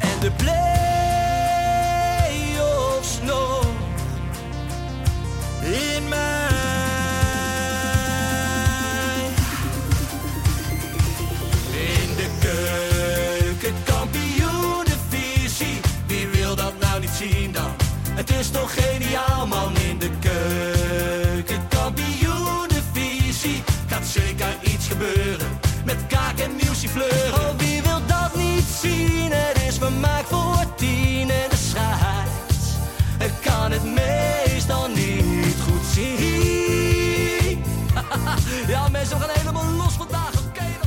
En de play-offs nog. In mij. In de keuken, kampioenenvisie. Wie wil dat nou niet zien dan? Het is toch geniaal man in de keuken, kampioenenvisie. Gaat zeker iets gebeuren met kaak en nieuwsje fleuren. Oh, wie wil dat niet zien? Het is vermaakt voor tien en de scheids. Ik kan het meestal niet goed zien. Ja, mensen, we gaan helemaal los vandaag. Oké dan.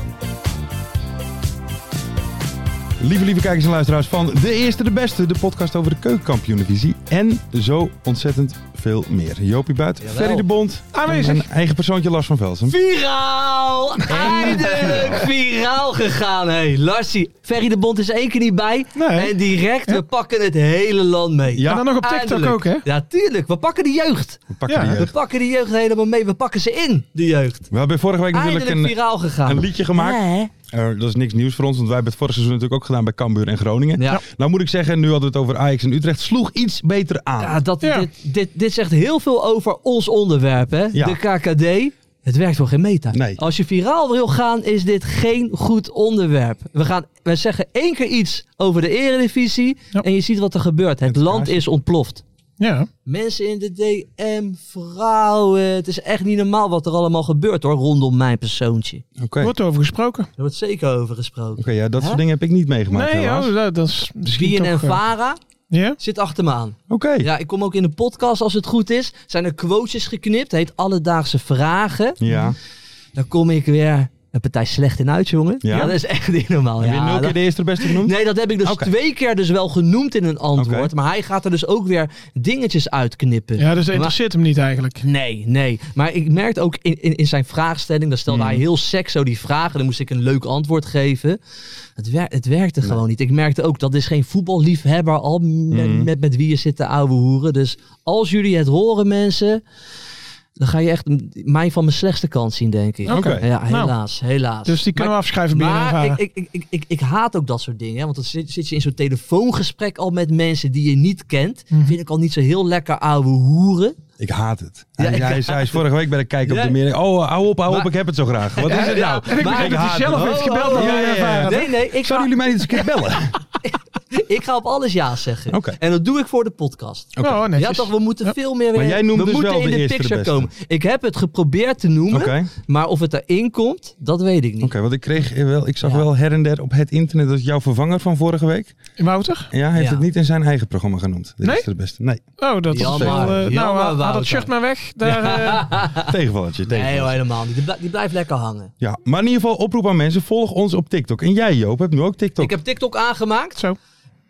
Lieve, lieve kijkers en luisteraars van De Eerste de Beste, de podcast over de keukenkampioenenvisie en zo ontzettend veel meer. Jopie Buit, Ferry de Bond Aanwezig. en mijn eigen persoontje Lars van Velsen. Viraal! Eindelijk viraal gegaan. Hey, Larsie, Ferry de Bond is één keer niet bij. Nee. En direct, we pakken het hele land mee. Ja. Ja, En dan nog op TikTok ook, hè? Ja, tuurlijk. We pakken de jeugd. We pakken Ja, die We jeugd. pakken de jeugd helemaal mee. We pakken ze in, de jeugd. We hebben vorige week natuurlijk Eindelijk een, viraal gegaan. een liedje gemaakt. Ja, Eh, dat is niks nieuws voor ons, want wij hebben het vorig seizoen natuurlijk ook gedaan bij Cambuur en Groningen. Ja. Nou moet ik zeggen, nu hadden we het over Ajax en Utrecht, sloeg iets beter Ah. aan. ja, dat, Ja. Dit, dit, dit zegt heel veel over ons onderwerp, hè? Ja. De KKD. Het werkt wel geen meta. Nee. Als je viraal wil gaan, is dit geen goed onderwerp. We, gaan, we zeggen één keer iets over de eredivisie. Ja. En je ziet wat er gebeurt. Het Het land kaasje. is ontploft. Ja. Mensen in de DM, vrouwen. Het is echt niet normaal wat er allemaal gebeurt hoor, rondom mijn persoontje. Oké, Er Oké, wordt over gesproken. Er wordt zeker over gesproken. ja, dat Hè? soort dingen heb ik niet meegemaakt nee, helaas. oh, dat, dat is misschien Bien en toch... eh, Vara ja? zit achter me aan. Oké, ja. Ja, ik kom ook in de podcast als het goed is. Zijn er quotes geknipt, heet Alledaagse Vragen. ja. Dan kom ik weer een partij slecht in uit, jongen. Ja? Ja, dat is echt niet normaal. Heb je Ja, nul keer dat- de eerste de beste genoemd? Nee, dat heb ik dus Oké. twee keer dus wel genoemd in een antwoord. Oké. Maar hij gaat er dus ook weer dingetjes uitknippen. ja, dus dat interesseert hem niet eigenlijk. Nee, nee. Maar ik merkte ook in, in, in zijn vraagstelling, dan stelde Hmm. hij heel seks zo die vragen. Dan moest ik een leuk antwoord geven. Het, wer- het werkte gewoon niet. Ik merkte ook, dat is geen voetballiefhebber al met, Hmm. met, met wie je zit te ouwe hoeren. Dus als jullie het horen mensen, dan ga je echt m- mij van mijn slechtste kant zien, denk ik. Oké. Ja, Nou. helaas, helaas. Dus die kunnen Maar- we afschrijven binnen en maar Vara. ik, ik, ik, ik, ik, ik haat ook dat soort dingen. Hè? Want dan zit, zit je in zo'n telefoongesprek al met mensen die je niet kent. Hmm. Vind ik al niet zo heel lekker ouwe hoeren. Ik haat het. Ja, hij, ik hij, haat hij is vorige week bij de kijk op Ja. de meer. Oh, hou op, hou op, Maar- ik heb het zo graag. Wat is het Ja, nou? en ik Maar weet dat hij zelf het. heeft Oh, gebeld oh, naar ja, mij ja, en ja. Vara. Nee, nee, ik ga, Zouden jullie mij niet eens een keer bellen? ik ga op alles ja zeggen. Oké. En dat doe ik voor de podcast. Oké. Oh, Ja netjes. toch, we moeten veel meer Maar jij noemt we dus moeten wel in de de, eerste de picture beste. komen. Ik heb het geprobeerd te noemen, Oké, oké, maar of het erin komt, dat weet ik niet. want ik kreeg eh, wel, ik zag Ja. wel her en der op het internet dat jouw vervanger van vorige week. Wouter? Ja, hij heeft Ja. het niet in zijn eigen programma genoemd. Dit Nee? is de beste. Nee, Oh, dat Jammer, is wel... eh, nou, jammer, haal Wouter. dat shirt maar weg. Daar, eh, tegenvalletje. Ah. Nee hoor, tegenvalletje. helemaal niet. Die, bl- die blijft lekker hangen. ja, maar in ieder geval oproep aan mensen, volg ons op TikTok. En jij Joop hebt nu ook TikTok. Ik heb TikTok aangemaakt. Zo.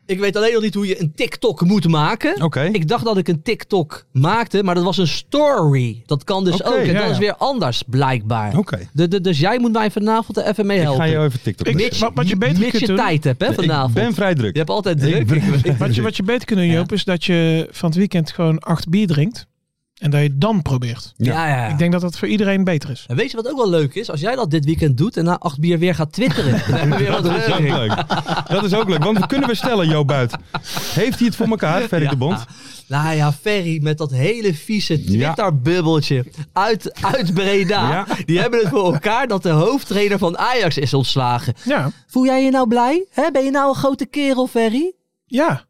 Ik weet alleen nog niet hoe je een TikTok moet maken. Oké, Ik dacht dat ik een TikTok maakte, maar dat was een story. Dat kan dus Oké, ook. En ja, dat is ja. weer anders, blijkbaar. oké. De- de- dus jij moet mij vanavond er even mee Ik helpen. ga jou even TikTok Ik- leren. Wat- wat je beter mits kunt je doen- tijd hebt, hè, vanavond. Ik ben vrij druk. Je hebt altijd Ik druk. ben- Ik weet- wat, je, wat je beter kunt doen, Ja. Joop, is dat je van het weekend gewoon acht bier drinkt. En dat je het dan probeert. Ja. Ja, ja. Ik denk dat dat voor iedereen beter is. En weet je wat ook wel leuk is? Als jij dat dit weekend doet en na acht bier weer gaat twitteren. Dan hebben we weer wat Dat is ook reuring. leuk. Dat is ook leuk. Want we kunnen we stellen, Joop Buit. Heeft hij het voor elkaar, Ferry de Bond? Nou ja, Ferry met dat hele vieze Twitter-bubbeltje uit, uit Breda. Ja. Die hebben het voor elkaar dat de hoofdtrainer van Ajax is ontslagen. Ja, Voel jij je nou blij? Hè, ben je nou een grote kerel, Ferry? ja.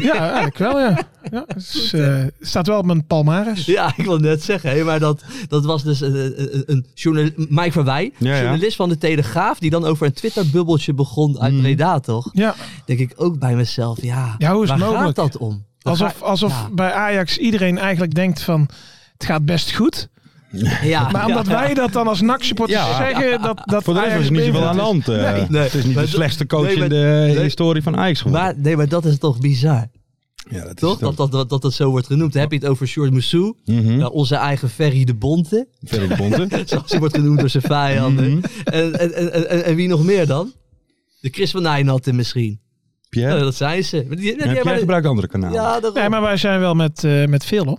ja eigenlijk wel, ja. ja het is, eh, staat wel op mijn palmares. Ja, ik wil net zeggen, hè, maar dat, dat was dus een, een, een journal, Mike Verwij, Ja, ja. journalist van de Telegraaf, die dan over een Twitter-bubbeltje begon uit Mhm. Breda, toch? Ja, Denk ik ook bij mezelf, ja, Ja, hoe is waar het mogelijk? gaat dat om? Dan alsof, ga- alsof ja. bij Ajax iedereen eigenlijk denkt van... Het gaat best goed. Ja, Maar omdat wij dat dan als NAC-supporters Ja. zeggen, dat, dat Voor de rest was Ajax er niet zoveel beter aan de is. hand. eh. Nee. Nee. Het is niet Maar de dat- slechte coach nee, in maar- de nee. historie van Ajax geworden. Maar, nee, maar dat is toch bizar, ja, dat toch? is Dat het dat, dat, dat dat zo wordt genoemd. Dan heb je het over Short Moussou, Mhm. nou, onze eigen Ferry de Bonte, ook. Verder de Bonte. zoals hij wordt genoemd door zijn vijanden. Mhm. en, en, en, en, en wie nog meer dan? De Chris van Nijnatten misschien. Pierre, Nou, dat zijn ze. Maar die- die- heb die- jij maar- gebruikt andere kanalen. ja, dat Nee, maar wij zijn wel met, eh, met veel op.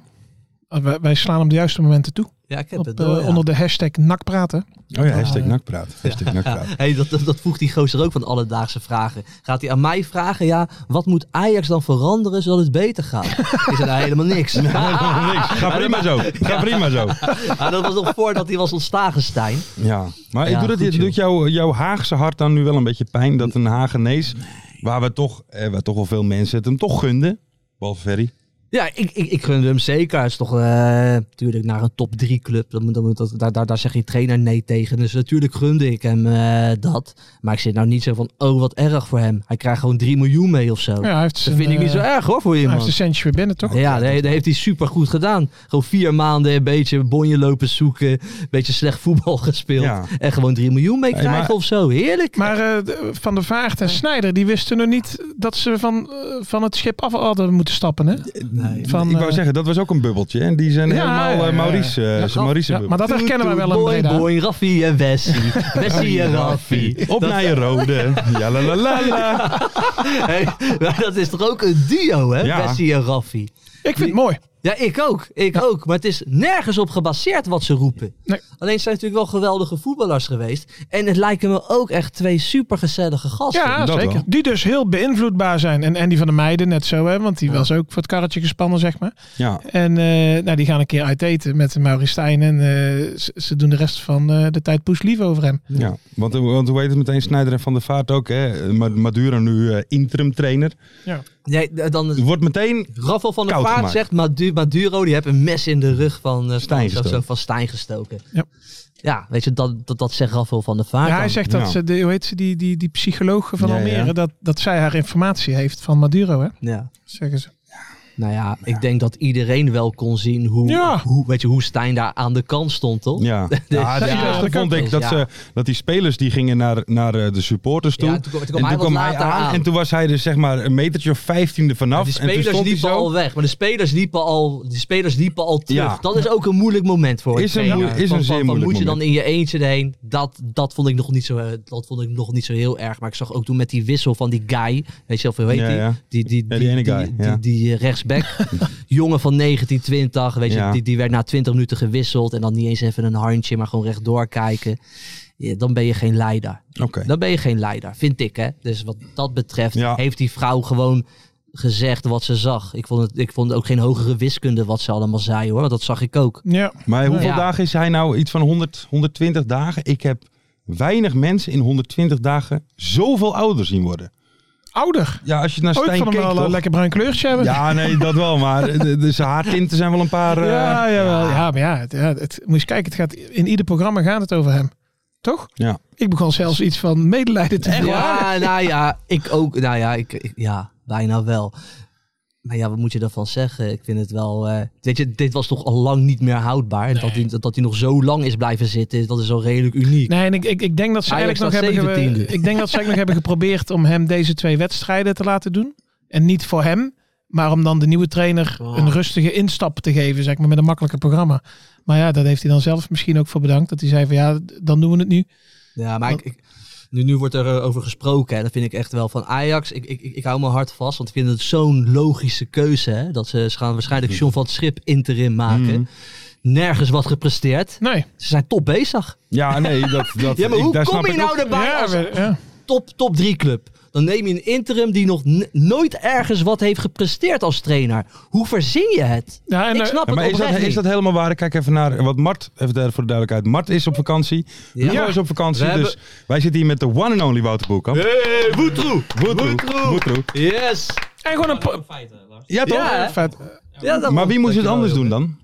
Eh, Wij, wij slaan op de juiste momenten toe. ja, ik heb Op, het eh, door, ja. Onder de hashtag NAC praten. Oh ja, hashtag nakpraat. Hashtag nakpraat. Hey, dat, dat, dat vroeg die gozer ook van alledaagse vragen. Gaat hij aan mij vragen, ja, wat moet Ajax dan veranderen zodat het beter gaat? Is dat helemaal niks. Niks. Ga prima zo. Ga prima zo. Maar ah, dat was nog voordat hij was ontslagen, Stijn. Ja, maar Ja, ik doe dat, goed, joh. doet jouw, jouw Haagse hart dan nu wel een beetje pijn dat een Hagenees, waar we toch, eh, waar toch wel veel mensen het hem toch gunden, behalve Ferry. Ja, ik, ik, ik gun hem zeker. Het is toch eh, natuurlijk naar een top 3 club. Dan, moet- dan, moet dat, daar, daar, daar zeg je trainer nee tegen. Dus natuurlijk gunde ik hem eh, dat. Maar ik zit nou niet zo van, oh wat erg voor hem. Hij krijgt gewoon 3 miljoen mee of zo. Ja, hij heeft dat zijn, vind ik niet eh, zo erg hoor voor Hij iemand. heeft de centje weer binnen, toch? Ja, dat, dat heeft hij super goed gedaan. Gewoon vier maanden een beetje bonje lopen zoeken. Een beetje slecht voetbal gespeeld. Ja. En gewoon 3 miljoen mee Hey, krijgen maar- of zo. Heerlijk. Maar eh, de- Van der Vaart en Snijder, die wisten nog niet dat ze van, eh, van het schip af hadden moeten stappen, hè? Van, ik wou eh, zeggen, dat was ook een bubbeltje en die zijn Ja, helemaal ja, eh, ja. Maurice, eh, Ja, zijn Maurice ja, maar dat herkennen we wel een Boy, Breda. boy, Raffi en Wessie. Wessie en Raffi. Op naar je rode. Ja, la, la, la, la. Hey, maar dat is toch ook een duo, hè? Ja. Wessie en Raffi. Ik vind het mooi. Ja, ik ook. Ik ook. Maar het is nergens op gebaseerd wat ze roepen. Nee. Alleen ze zijn natuurlijk wel geweldige voetballers geweest. En het lijken me ook echt twee supergezellige gasten. Ja, dat zeker. wel. Die dus heel beïnvloedbaar zijn. En Andy van der Meijden net zo, hè? want die was ook voor het karretje gespannen, zeg maar. Ja, En eh, nou, die gaan een keer uit eten met Maurice Stijn. En eh, ze, ze doen de rest van eh, de tijd poes lief over hem. ja. Want, eh, want hoe heet het meteen, Snijder en Van der Vaart ook, hè? Ma- Maduro nu eh, interim trainer. Nee, dan Wordt meteen, Raffel van der Koud Vaart gemaakt. zegt Madu- Maduro, die heeft een mes in de rug van, eh, Stijn van- gestoken. zo- van Stijn gestoken. Ja. Ja, weet je, dat, dat, dat zegt Raffel van der Vaart. Ja, hij dan. zegt dat Ja. ze, de, hoe heet ze, die, die, die psycholoog van Ah, Nou. Ja, Almere, ja. Dat, dat zij haar informatie heeft van Maduro, hè? Ja. zeggen ze. Nou ja, ik denk dat iedereen wel kon zien hoe, Ja. hoe, weet je, hoe Stijn daar aan de kant stond, toch? ja. Ja, Dus- dat- ja, dat dat vond ik is, dat, ja. ze, dat die spelers die gingen naar, naar eh, de supporters toe. Ja, toen kwam- toen kwam hij wat later aan. En toen was hij dus zeg maar een metertje of vijftiende vanaf. De en toen spelers stond hij liepen al zo. weg, maar de spelers liepen al, de spelers liepen al terug. Ja. Dat is ook een moeilijk moment voor Is een trainer. moe- is een Van- van- zeer van, moeilijk Moet je dan moment. in je eentje erheen? Dat, dat, vond ik nog niet zo, eh, dat vond ik nog niet zo heel erg. Maar ik zag ook toen met die wissel van die guy, weet je wel, hoe heet Ja, die? ja. Die, die, Ja, die ene guy, die, ja. die, eh, rechtsback, jongen van 1920, weet je, Ja. die, die werd na 20 minuten gewisseld en dan niet eens even een handje, maar gewoon rechtdoor kijken. Ja, dan ben je geen leider. Oké. Dan ben je geen leider, vind ik. Hè? Dus wat dat betreft Ja. heeft die vrouw gewoon gezegd wat ze zag. Ik vond, het, ik vond ook geen hogere wiskunde wat ze allemaal zei hoor. Want dat zag ik ook. Ja. Maar hoeveel Ja. dagen is hij nou? Iets van 100, 120 dagen. Ik heb weinig mensen in 120 dagen zoveel ouder zien worden. Ouder. Ja, als je naar Ooit Stijn van hem keek wel toch? een lekker bruin kleurtje hebben. Ja, nee, dat wel. Maar eh, de, de, zijn haartinten zijn wel een paar... eh, Ja, jawel. ja, maar ja, het, ja, het- moet je eens kijken. Het gaat, in ieder programma gaat het over hem. Toch? ja. Ik begon zelfs iets van medelijden te voelen. Ja, nou ja, ik ook. Nou ja, ik, ik- ja, bijna wel. Maar ja, wat moet je daarvan zeggen? Ik vind het wel. eh, weet je, dit was toch al lang niet meer houdbaar. En dat hij dat, dat hij nog zo lang is blijven zitten, dat is al redelijk uniek. Nee, en ik, ik, ik denk dat ze Ajax eigenlijk nog staat hebben, ge- 17e. ik denk dat ze eigenlijk nog hebben geprobeerd om hem deze twee wedstrijden te laten doen. En niet voor hem, maar om dan de nieuwe trainer Oh. een rustige instap te geven, zeg maar, met een makkelijker programma. Maar ja, daar heeft hij dan zelf misschien ook voor bedankt. Dat hij zei van ja, dan doen we het nu. Ja, maar ik, ik- nu, nu wordt er eh, over gesproken. En dat vind ik echt wel van Ajax. Ik, ik, ik ik hou mijn hart vast. Want ik vind het zo'n logische keuze. Hè? Dat ze, ze gaan waarschijnlijk John van het Schip interim maken. Nergens wat gepresteerd. Nee. Ze zijn top bezig. ja, nee, dat... dat Ja, maar ik- hoe daar snap kom je ik ook- nou erbij Ja, als we- ja. top, top 3 club? Dan neem je een interim die nog n- nooit ergens wat heeft gepresteerd als trainer. Hoe verzin je het? Ja, en, ik eh, snap Ja, maar het is dat, oprecht is niet. dat helemaal waar? Ik Kijk even naar wat Mart, even daar voor de duidelijkheid. Mart is op vakantie. Ja. Ja. is op vakantie. We dus hebben- wij zitten hier met de one and only Wouter Boelkamp. Hey, Woetroe! Woetroe, Woetroe. Yes! en gewoon een... po- Ja, toch? Ja, hè? Vet. Ja, dat- Maar wie moest het dankjewel, anders doen Hilbert. dan?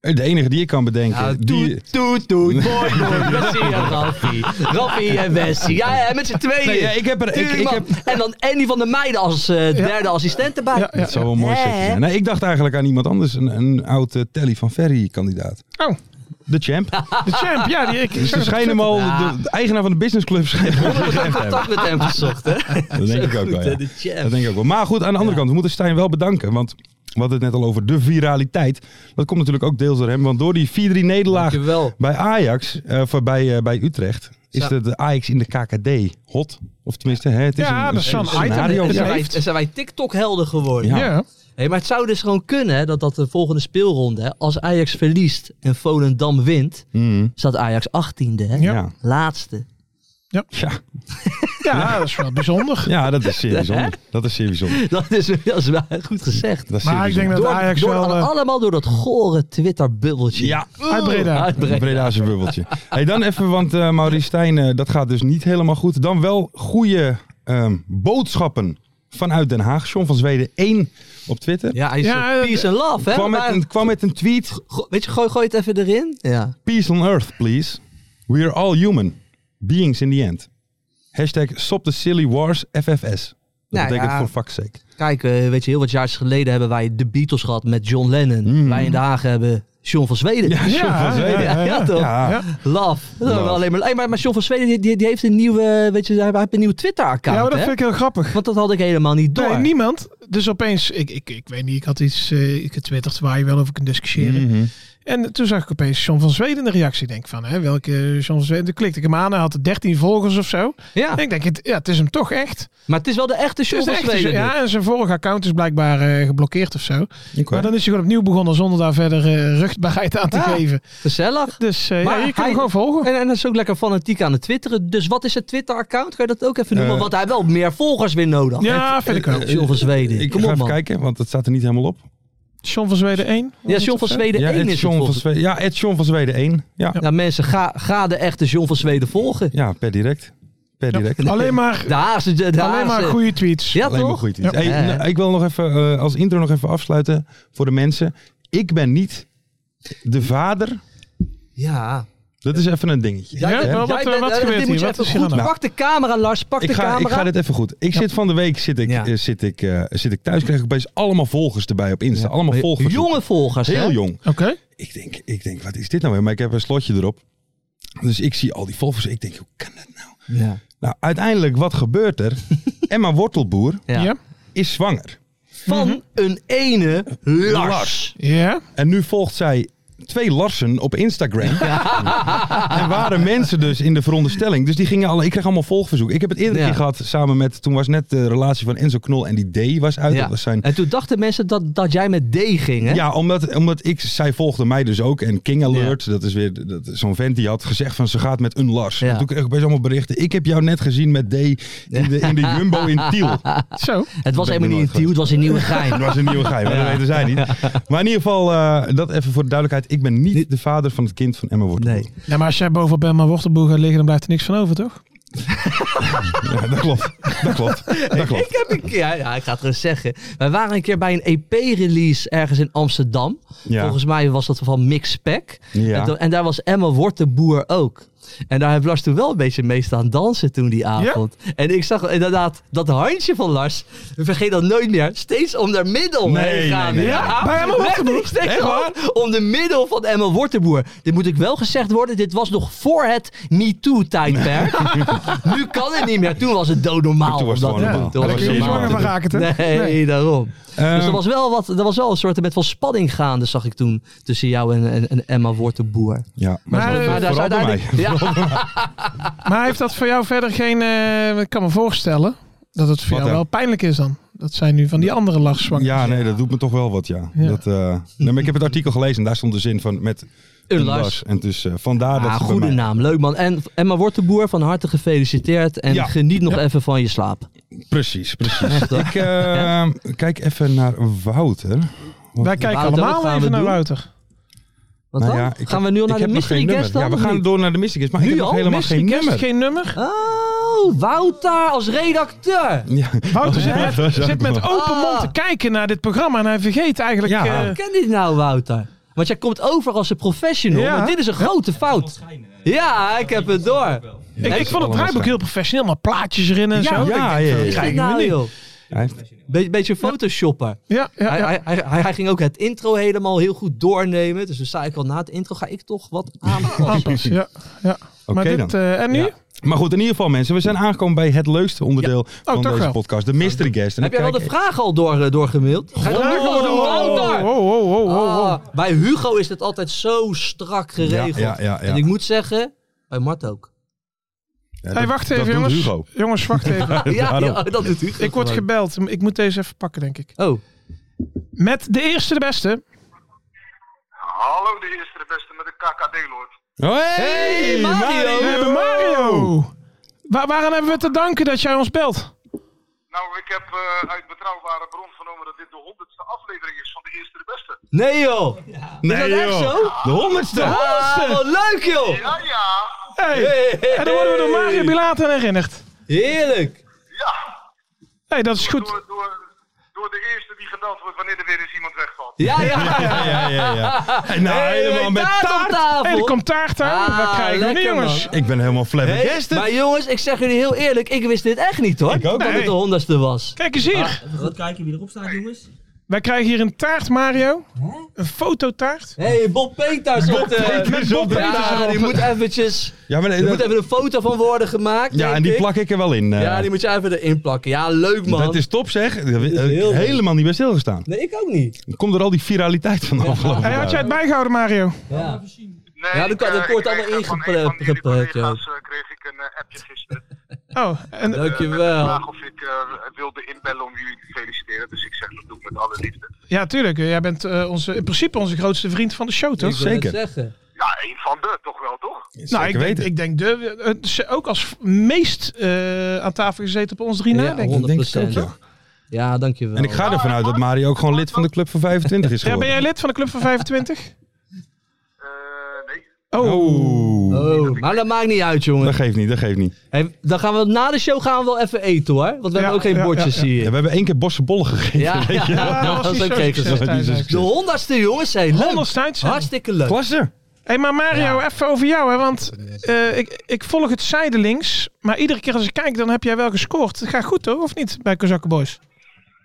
De enige die ik kan bedenken. Ja, die, Toet, toet, toet. Mooi, mooi. Messi en Raffi. Raffi en Messi. Ja, ja, met z'n tweeën. Nee, ja, ik heb er... Ik, ik Tuurman. heb, En dan Andy van der Meijden als eh, derde assistent erbij. Ja, ja. dat zou wel mooi Hè? zijn. Nee, ik dacht eigenlijk aan iemand anders. Een, een oud eh, Telly van Ferry kandidaat. Oh, de champ. De champ, ja. Die, ik, ik Dus zag ze het op schijnen hem Twitter. al, Ja. de, de eigenaar van de businessclub schijnt hem al Ik gezegd te hebben. contact met hem gezocht, hè? Dat denk ik ook Goed, wel, ja. hè, de champ. Dat denk ik ook wel. Maar goed, aan de andere Ja. kant, we moeten Stijn wel bedanken. Want we hadden het net al over de viraliteit. Dat komt natuurlijk ook deels door hem. Want door die 4-3 nederlaag Dankjewel. bij Ajax, eh, voor bij, eh, bij Utrecht, is Ja. de, de Ajax in de KKD hot. Of tenminste, hè, het is Ja, een, dat is een, zo'n scenario. item. En Het zijn wij, heeft- en zijn wij TikTok-helden geworden. Ja. Ja. Hey, maar het zou dus gewoon kunnen hè, dat dat de volgende speelronde, hè, als Ajax verliest en Volendam wint, Mm, staat Ajax 18e. Hè? Ja. ja. Laatste. Ja. ja, dat is wel bijzonder. ja, dat is zeer bijzonder. Dat is zeer bijzonder. Dat is, dat is wel goed gezegd. Dat is Maar zeer ik denk bijzonder. dat Door, Ajax door- wel... eh, allemaal door dat gore Twitter-bubbeltje. Ja, uit Breda. Uit Breda. Een Bredaanse bubbeltje. hey, dan even, want eh Maurice Stijn, eh, dat gaat dus niet helemaal goed. Dan wel goede ehm, boodschappen vanuit Den Haag. John van Zweden 1 op Twitter. Ja, hij is Ja, eh, zo peace and love, hè? kwam, met Maar- een, kwam met een tweet. Go- weet je, gooi, gooi het even erin. Ja. Peace on earth, please. We are all human. Beings in the end. Hashtag stop the silly wars FFS. Dat Nou betekent ja. voor fuck's sake. Kijk, eh, weet je, heel wat jaartjes geleden hebben wij de Beatles gehad met John Lennon. Wij in de Haag hebben John van Zweden. Mm. Ja, John van Zweden. ja, ja, toch? Ja. Ja. Love. Dat Love. hebben we Alleen maar, hey, maar, maar John van Zweden die, die, die heeft een nieuwe, weet je, hij heeft een nieuw Twitter-account. Ja, maar dat hè? vind ik heel grappig. Want dat had ik helemaal niet door. Nee, niemand. Dus opeens, ik, ik, ik weet niet, ik had iets eh, getwitterd waar je wel over kunt discussiëren. Mhm. En toen zag ik opeens John van Zweden de reactie. Ik denk van, hè, welke John van Zweden? Toen klikte ik hem aan, hij had 13 volgers of zo. Ja, En ik denk, het, ja, het is hem toch echt. maar het is wel de echte Het John is de van echte, Zweden. dus. ja, en zijn vorige account is blijkbaar eh, geblokkeerd of zo. Oké. Maar dan is hij gewoon opnieuw begonnen zonder daar verder eh, ruchtbaarheid aan te Ja. geven. Gezellig. Dus eh, Maar ja, je hij- kan hem gewoon volgen. En, en hij is ook lekker fanatiek aan het twitteren. Dus wat is het Twitter-account? Kan je dat ook even noemen? Eh, Want hij heeft wel meer volgers weer nodig. Ja, vind ik wel. John van Zweden. Ik Kom ga op, even man. kijken, want het staat er niet helemaal op. John van Zweden 1. Ja, John van Zweden Ja, 1 Ed is het John van volgens Zweden, ja, Ed John van Zweden 1. Ja, ja. Ja, Nou, mensen, ga, ga de echte John van Zweden volgen. per direct. Per direct. Alleen maar, De Haagse, de, de alleen maar Haagse- goede tweets. Ja, Alleen maar toch? goed. iets. Hey, Ja. nou, ik wil nog even eh, als intro nog even afsluiten voor de mensen. Ik ben niet de vader. Ja. Dat is even een dingetje. Ja, hè? wel. wat, Jij eh, bent- wat eh, gebeurt dit hier? moet je Wat even is hier aan goed- de hand? Pak de camera, Lars. Pak Ik de ga, ik camera. ga dit even goed. Ik zit van de week zit ik, Ja. eh, zit ik, eh, zit ik thuis. Krijg ik opeens allemaal volgers erbij op Insta. Allemaal volgers. Jonge volgers, hè? Heel jong. Oké. Ik denk, ik denk, wat is dit nou weer? Maar ik heb een slotje erop. Dus ik zie al die volgers. Ik denk, hoe kan dat nou? Ja. Nou, uiteindelijk, wat gebeurt er? Emma Wortelboer Ja. Ja. Mhm. is zwanger. Van een ene Lars. Ja. En nu volgt zij twee Larsen op Instagram. en waren mensen dus in de veronderstelling. Dus die gingen alle, ik kreeg allemaal volgverzoeken. Ik heb het eerder Ja. keer gehad samen met, toen was net de relatie van Enzo Knol en die D was uit. Ja. Dat was zijn, En toen dachten mensen dat, dat jij met D ging, hè? ja, omdat, omdat ik, zij volgde mij dus ook. En King Alert, dat is weer dat, is zo'n vent die had gezegd van ze gaat met een Lars. Ja. En toen kreeg ik opeens allemaal berichten. Ik heb jou net gezien met D in de, in de Jumbo in Tiel. Zo. Het was helemaal Ben niet ik een nooit deal, het was een nieuwe gein. Dat was een nieuwe geheim, maar dat weten zij niet. Maar in ieder geval, eh, dat even voor de duidelijkheid. Ik ben niet de vader van het kind van Emma Wortelboer. Nee. Ja, maar als jij bovenop Emma Wortelboer gaat liggen, dan blijft er niks van over, Oh, toch? Ja, dat klopt. Dat klopt. Dat klopt. Ik heb een keer, ja, ja, ik ga het gewoon zeggen. Wij waren een keer bij een EP-release ergens in Amsterdam. Ja. Volgens mij was dat van Mix Pack. Ja. En, toen- en daar was Emma Wortenboer ook. En daar heeft Lars toen wel een beetje mee staan dansen toen die avond. En ik zag inderdaad dat handje van Lars, we vergeet dat nooit meer, steeds om haar middel Nee, heen gaan. nee, nee, ja, nee. Bij Emma Wortenboer? Nee, steeds Echt waar? om- Om de middel van Emma Wortenboer. Dit moet ik wel gezegd worden, dit was nog voor het MeToo-tijdperk. nu kan het niet meer. Toen was het doodnormaal. Toen was het om dat te doen. gewoon normaal. Toen Daar was kun je het niet normaal. zwanger van raken, toch? Nee, Nee. daarom. dus er Ehm, was wel, wat, er was wel een soort met van spanning gaande, zag ik toen, tussen jou en, en, en Emma Wortenboer. ja, maar, Maar, eh, maar daar vooral bij mij. Ja, Maar heeft dat voor jou verder geen... eh, ik kan me voorstellen dat het voor Wat jou dan? wel pijnlijk is dan. Dat zijn nu van die andere lach zwanger. Ja, nee, dat doet me toch wel wat, ja. Ja. Dat, eh, nee, maar ik heb het artikel gelezen en daar stond de zin van met een een Lars. Lars. En dus eh, vandaar dat Ah, ze bij goede mij- naam, leuk man. En Emma Wortenboer, van harte gefeliciteerd. En Ja. geniet nog even van je slaap. Precies, precies. Echt, hoor. ik eh, kijk even naar Wouter. Wij kijken Wouter, allemaal wat gaan even we naar doen? Wouter. Wat Nou dan? ja, Gaan ik heb- we nu al ik naar de heb nog geen mystery guest nummer. dan? Ja, we of gaan niet? door naar de mystery guest, maar Nu ik heb nog al? helemaal Mystery geen Guest, nummer. geen nummer. Oh, Wouter als redacteur. Ja. Wouter zit Ja, met, dat is zit met ook open Ah. mond te kijken naar dit programma. En hij vergeet eigenlijk... Ja. eh, Ik ken dit nou, Wouter. Want jij komt over als een professional. Ja. Maar dit is een grote fout. Ja, ik heb het door. ik, ik vond het draaiboek heel professioneel. Maar plaatjes erin en Ja, zo. ja, Ik denk, ja, ja. dat Kijk kijken we nou, niet. joh. Hij heeft- Be- beetje photoshoppen. Ja, ja, ja. Hij, hij, hij, hij ging ook het intro helemaal heel goed doornemen. Dus dan zei ik al, na het intro ga ik toch wat aanpassen. Aanpassen, ja. ja. maar Oké dit, dan. eh, en nu? Ja. Maar goed, in ieder geval mensen, we zijn aangekomen bij het leukste onderdeel van toch deze wel. podcast. De mystery guest. En Oh, Heb jij dan wel de kijk- vraag al door, eh, doorgemaild? Ga je de vraag al oh, door? oh, oh, oh, oh, oh. Ah, bij Hugo is het altijd zo strak geregeld. Ja, ja, ja, ja. En ik moet zeggen, bij Mart ook. Ja, Hey, dat- wacht dat even, doet jongens. Hugo. Jongens, wacht even. Ja, ja, daarom. dat doet Hugo. ik word gewoon. gebeld. Ik moet deze even pakken, denk ik. Oh, Met de eerste, de beste. Hallo de eerste de beste met de KKD-lord. Hey, Hey, Mario! We hebben Mario. Wa- waaraan hebben we te danken dat jij ons belt? Nou, ik heb eh, uit betrouwbare bron vernomen dat dit de honderdste aflevering is van de eerste de beste. nee joh! Nee, dat echt joh. zo? De honderdste. Ah, wat leuk joh! Ja, ja. Hey. Hey. En dan worden we door Mario Bilater herinnerd. Heerlijk! hey, dat is goed. Door, door, door de eerste die gebeld wordt wanneer er weer eens iemand wegvalt. Ja, ja! Ja, ja, ja. ja. En nou, Hey, helemaal met taart op taart. tafel. hey, er komt taart aan. Ah, Wat krijgen we nu, lekker, jongens? Ik ben helemaal flabbergasted. Maar jongens, ik zeg jullie heel eerlijk, ik wist dit echt niet hoor. Ik ook dat niet. het de honderdste was. Kijk eens hier. Goed kijken wie erop staat, jongens. Wij krijgen hier een taart, Mario. Een fototaart. Hé, hey, Bob Peters op de... Peters op de- Ja, die moet eventjes... Ja, maar, Er moet even een foto van worden gemaakt, ja, denk en die ik. plak ik er wel in. eh. Ja, die moet je even erin plakken. Ja, leuk man. Dat is top zeg. Eh, is heel leuk. Helemaal niet bij stilgestaan. Nee, ik ook niet. Komt er al die viraliteit van de afgelopen Hey, had jij dagen? het bijgehouden, Mario? Ja. Nee, Ja, dat kan- ik, dat eh, wordt ik allemaal kreeg, eh, van ingepre- een van jullie gepre- collega's, eh, kreeg ik een eh, appje gisteren. eh, Oh, en met de Dankjewel. vraag of ik eh, wilde inbellen om jullie te feliciteren. Dus ik zeg dat doe ik met alle liefde. Ja, tuurlijk. Jij bent eh, onze, in principe onze grootste vriend van de show, Ik toch? wil het Zeker. zeggen. Ja, één van de, toch wel, toch? nou, ik Zeker denk, weten. ik denk de, eh, ze ook als meest eh, aan tafel gezeten op ons drie na, Ja, denk ik. 100%. ook, ja. Ja, dankjewel. En ik ga ervan uit dat Mario ook gewoon lid van de Club van 25 is Ja, ben geworden. jij lid van de Club van 25? Eh, nee. Oh, Oeh. Oh, maar dat maakt niet uit, jongen. Dat geeft niet, dat geeft niet. Hey, dan gaan we na de show gaan we wel even eten, hoor. Want we hebben ook geen ja, bordjes ja, ja. Ja, hier. we hebben één keer bossenbollen gegeven. Ja, weet je wel. Ah, ja, dat was ook zo geen succes, Dat was niet zo Thijs. succes. De honderdste, jongens. Hey, leuk. Honderdste zijn. Hartstikke leuk. Klasse. Hé, maar Mario, Ja. even over jou, hè, want eh, ik, ik volg het zijdelings, maar iedere keer als ik kijk, dan heb jij wel gescoord. Het gaat goed, hoor, of niet, bij Kozakken Boys?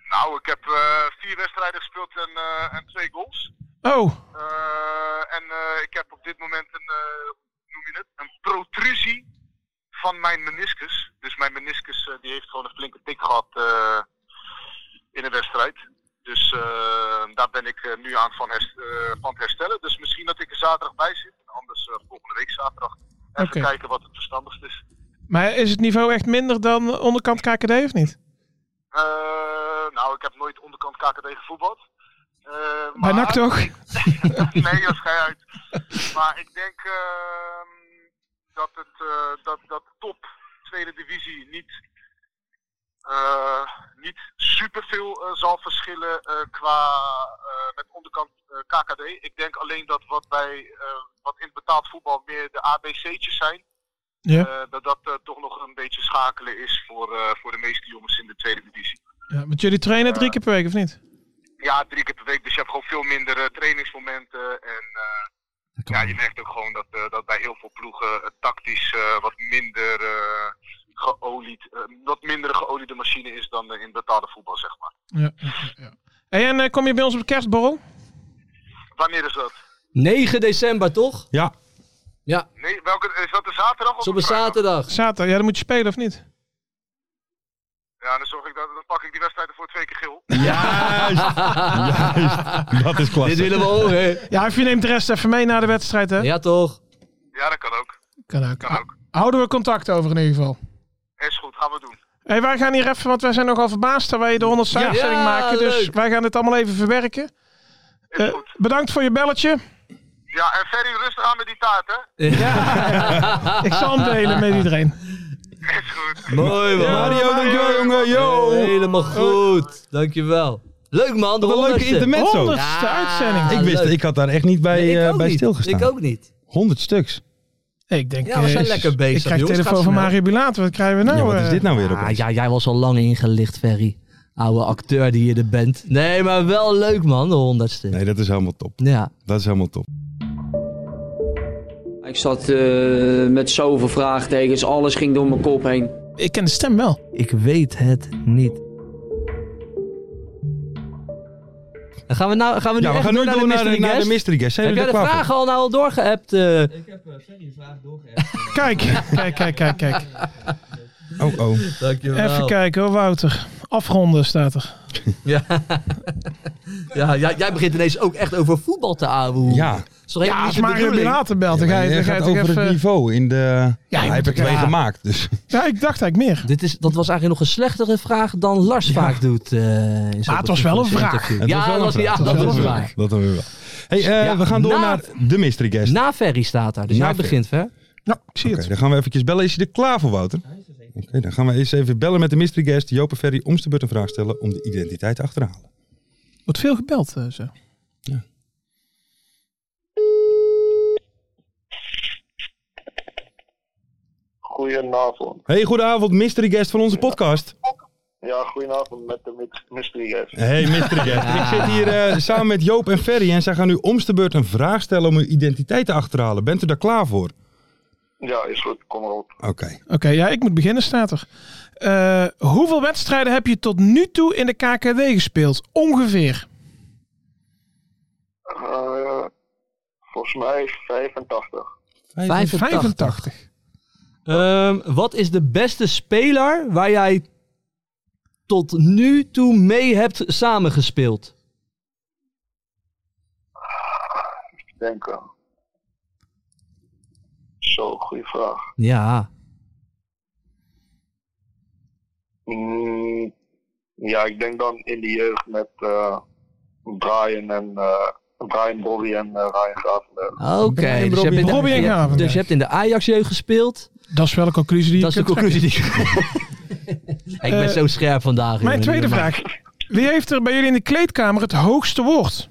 Nou, ik heb eh, vier wedstrijden gespeeld en, eh, en twee goals. Oh, Eh, en eh, ik heb op dit moment een, eh, hoe noem je het? een protrusie van mijn meniscus. Dus mijn meniscus eh, die heeft gewoon een flinke tik gehad eh, in een wedstrijd. Dus eh, daar ben ik eh, nu aan van, hers- eh, van het herstellen. Dus misschien dat ik er zaterdag bij zit. En anders eh, volgende week zaterdag. Even Oké. kijken wat het verstandigst is. maar is het niveau echt minder dan onderkant KKD, of niet? Eh, nou, ik heb nooit onderkant KKD gevoetbald. Eh, Bij maar- NAC toch? nee, dat schijnt uit. Maar ik denk ehm, dat, het, eh, dat, dat de top tweede divisie niet, eh, niet superveel eh, zal verschillen eh, qua eh, met onderkant eh, KKD. Ik denk alleen dat wat, bij, eh, wat in betaald voetbal meer de ABC'tjes zijn. Ja. eh, dat dat eh, toch nog een beetje schakelen is voor, eh, voor de meeste jongens in de tweede divisie. Ja, want jullie trainen drie keer per week, of niet? Ja, drie keer per week. Dus je hebt gewoon veel minder eh, trainingsmomenten. En eh, ja, je merkt ook gewoon dat, eh, dat bij heel veel ploegen het tactisch eh, wat minder eh, geolied, eh, wat minder een geoliede machine is dan eh, in betaalde voetbal, zeg maar. Ja. ja, ja. Hey, en eh, kom je bij ons op de kerstborrel? Wanneer is dat? 9 december, toch? Ja, Ja, Nee, welke, is dat een zaterdag of zo op een vrijdag? zaterdag. Zaterdag, ja, dan moet je spelen, of niet? Ja, dan, zorg ik dat, dan pak ik die wedstrijd ervoor twee keer geel. juist. juist. Dat is Dit klasse. willen we horen. Ja, of je neemt de rest even mee na de wedstrijd, hè? Ja, toch? Ja, dat kan ook. Kan ook. Kan ook. Houden we contact over in ieder geval. Is goed, gaan we doen. Hey, wij gaan hier even, want wij zijn nogal verbaasd dat wij de 100 ste Ja. uitzending Ja, maken. Dus leuk. wij gaan dit allemaal even verwerken. Eh, goed. bedankt voor je belletje. Ja, en Ferry, rustig aan met die taart, hè? Ik zal hem delen met iedereen. Is goed. Mooi, man. Mario, dankjewel jongen. Yo. Helemaal goed. Dankjewel. Leuk, man. De Wat een leuke honderdste. intermezzo. Honderdste Ja. uitzending. Ik wist, leuk. ik had daar echt niet bij, Nee, ik eh, ook bij niet. stilgestaan. Ik ook niet. 100 stuks. Hey, ik denk, Ja, we eh, zijn is- lekker bezig, Ik krijg jongens. telefoon Gaat van snel. Mario Bilater. Wat krijgen we nou? Ja, wat is eh? dit nou weer Ah, op? ja, jij was al lang ingelicht, Ferry. Oude acteur die je er bent. Nee, maar wel leuk, man. De honderdste. Nee, dat is helemaal top. Ja. Dat is helemaal top. Ik zat eh, met zoveel vraagtekens, alles ging door mijn kop heen. Ik ken de stem wel. Ik weet het niet. Dan gaan we, nou, gaan we nu Ja, we echt gaan nu door naar, de, mystery naar de guest. mystery guest. Zijn Heb jullie jij er de klaar vragen voor? al nou al doorgeappt? eh? Kijk, kijk, kijk, kijk, kijk. Oh, oh. Dankjewel. Even kijken hoor, Wouter. Afronden staat er. Ja. ja, ja, jij begint ineens ook echt over voetbal te ouwen. Ja, Is toch helemaal Ja, niet als je Mario bedoeling? later belt, dan ga je, jij dan ga je gaat toch over het even... niveau in de... Ja, je hij heeft er moet- twee ja. gemaakt, dus... Ja, ik dacht eigenlijk meer. Dit is, dat was eigenlijk nog een slechtere vraag dan Lars vaak doet. eh, in zo'n Maar het was wel een interview. vraag. Het Ja, wel dat een was, vraag. ja, Het dat wel was een waar. vraag. Dat hebben we wel. Hey, eh, Ja, we gaan door na- naar de mystery guest. Na Ferry staat daar, dus Na jij Ferry. begint, hè? Ja, ik zie Oké, het. dan gaan we eventjes bellen. Is hij er klaar voor, Wouter? Oké, dan gaan we eens even bellen met de mystery guest. Joop en Ferry om de beurt een vraag stellen om de identiteit te achterhalen. Wordt veel gebeld eh, zo. Goedenavond. Hey, goedenavond, mystery guest van onze podcast. Ja, goedenavond met de mys- mystery guest. Hey, mystery guest. Ik zit hier eh, samen met Joop en Ferry en zij gaan u om de beurt een vraag stellen om uw identiteit te achterhalen. Bent u daar klaar voor? Ja, is goed. Kom erop. Oké. Oké, ja, ik moet beginnen, staat er. Eh, hoeveel wedstrijden heb je tot nu toe in de KKD gespeeld? Ongeveer. Eh, volgens mij 85. 85. 85. Ehm, wat is de beste speler waar jij tot nu toe mee hebt samengespeeld? Denken. eh, Zo, goede vraag. Ja, Mm, ja, ik denk dan in de jeugd met eh, Brian en eh, Brian Bobby en eh, Ryan Gravenberg. oké. Brian Dus, je hebt in de- Robbie en je hebt- Gravenberg. dus je hebt in de Ajax-jeugd gespeeld. Dat is wel een conclusie die dat is je de kunt conclusie die ik... ik ben Eh, zo scherp vandaag. trekken. Mijn jongen. tweede Maar- vraag. Wie heeft er bij jullie in de kleedkamer het hoogste woord?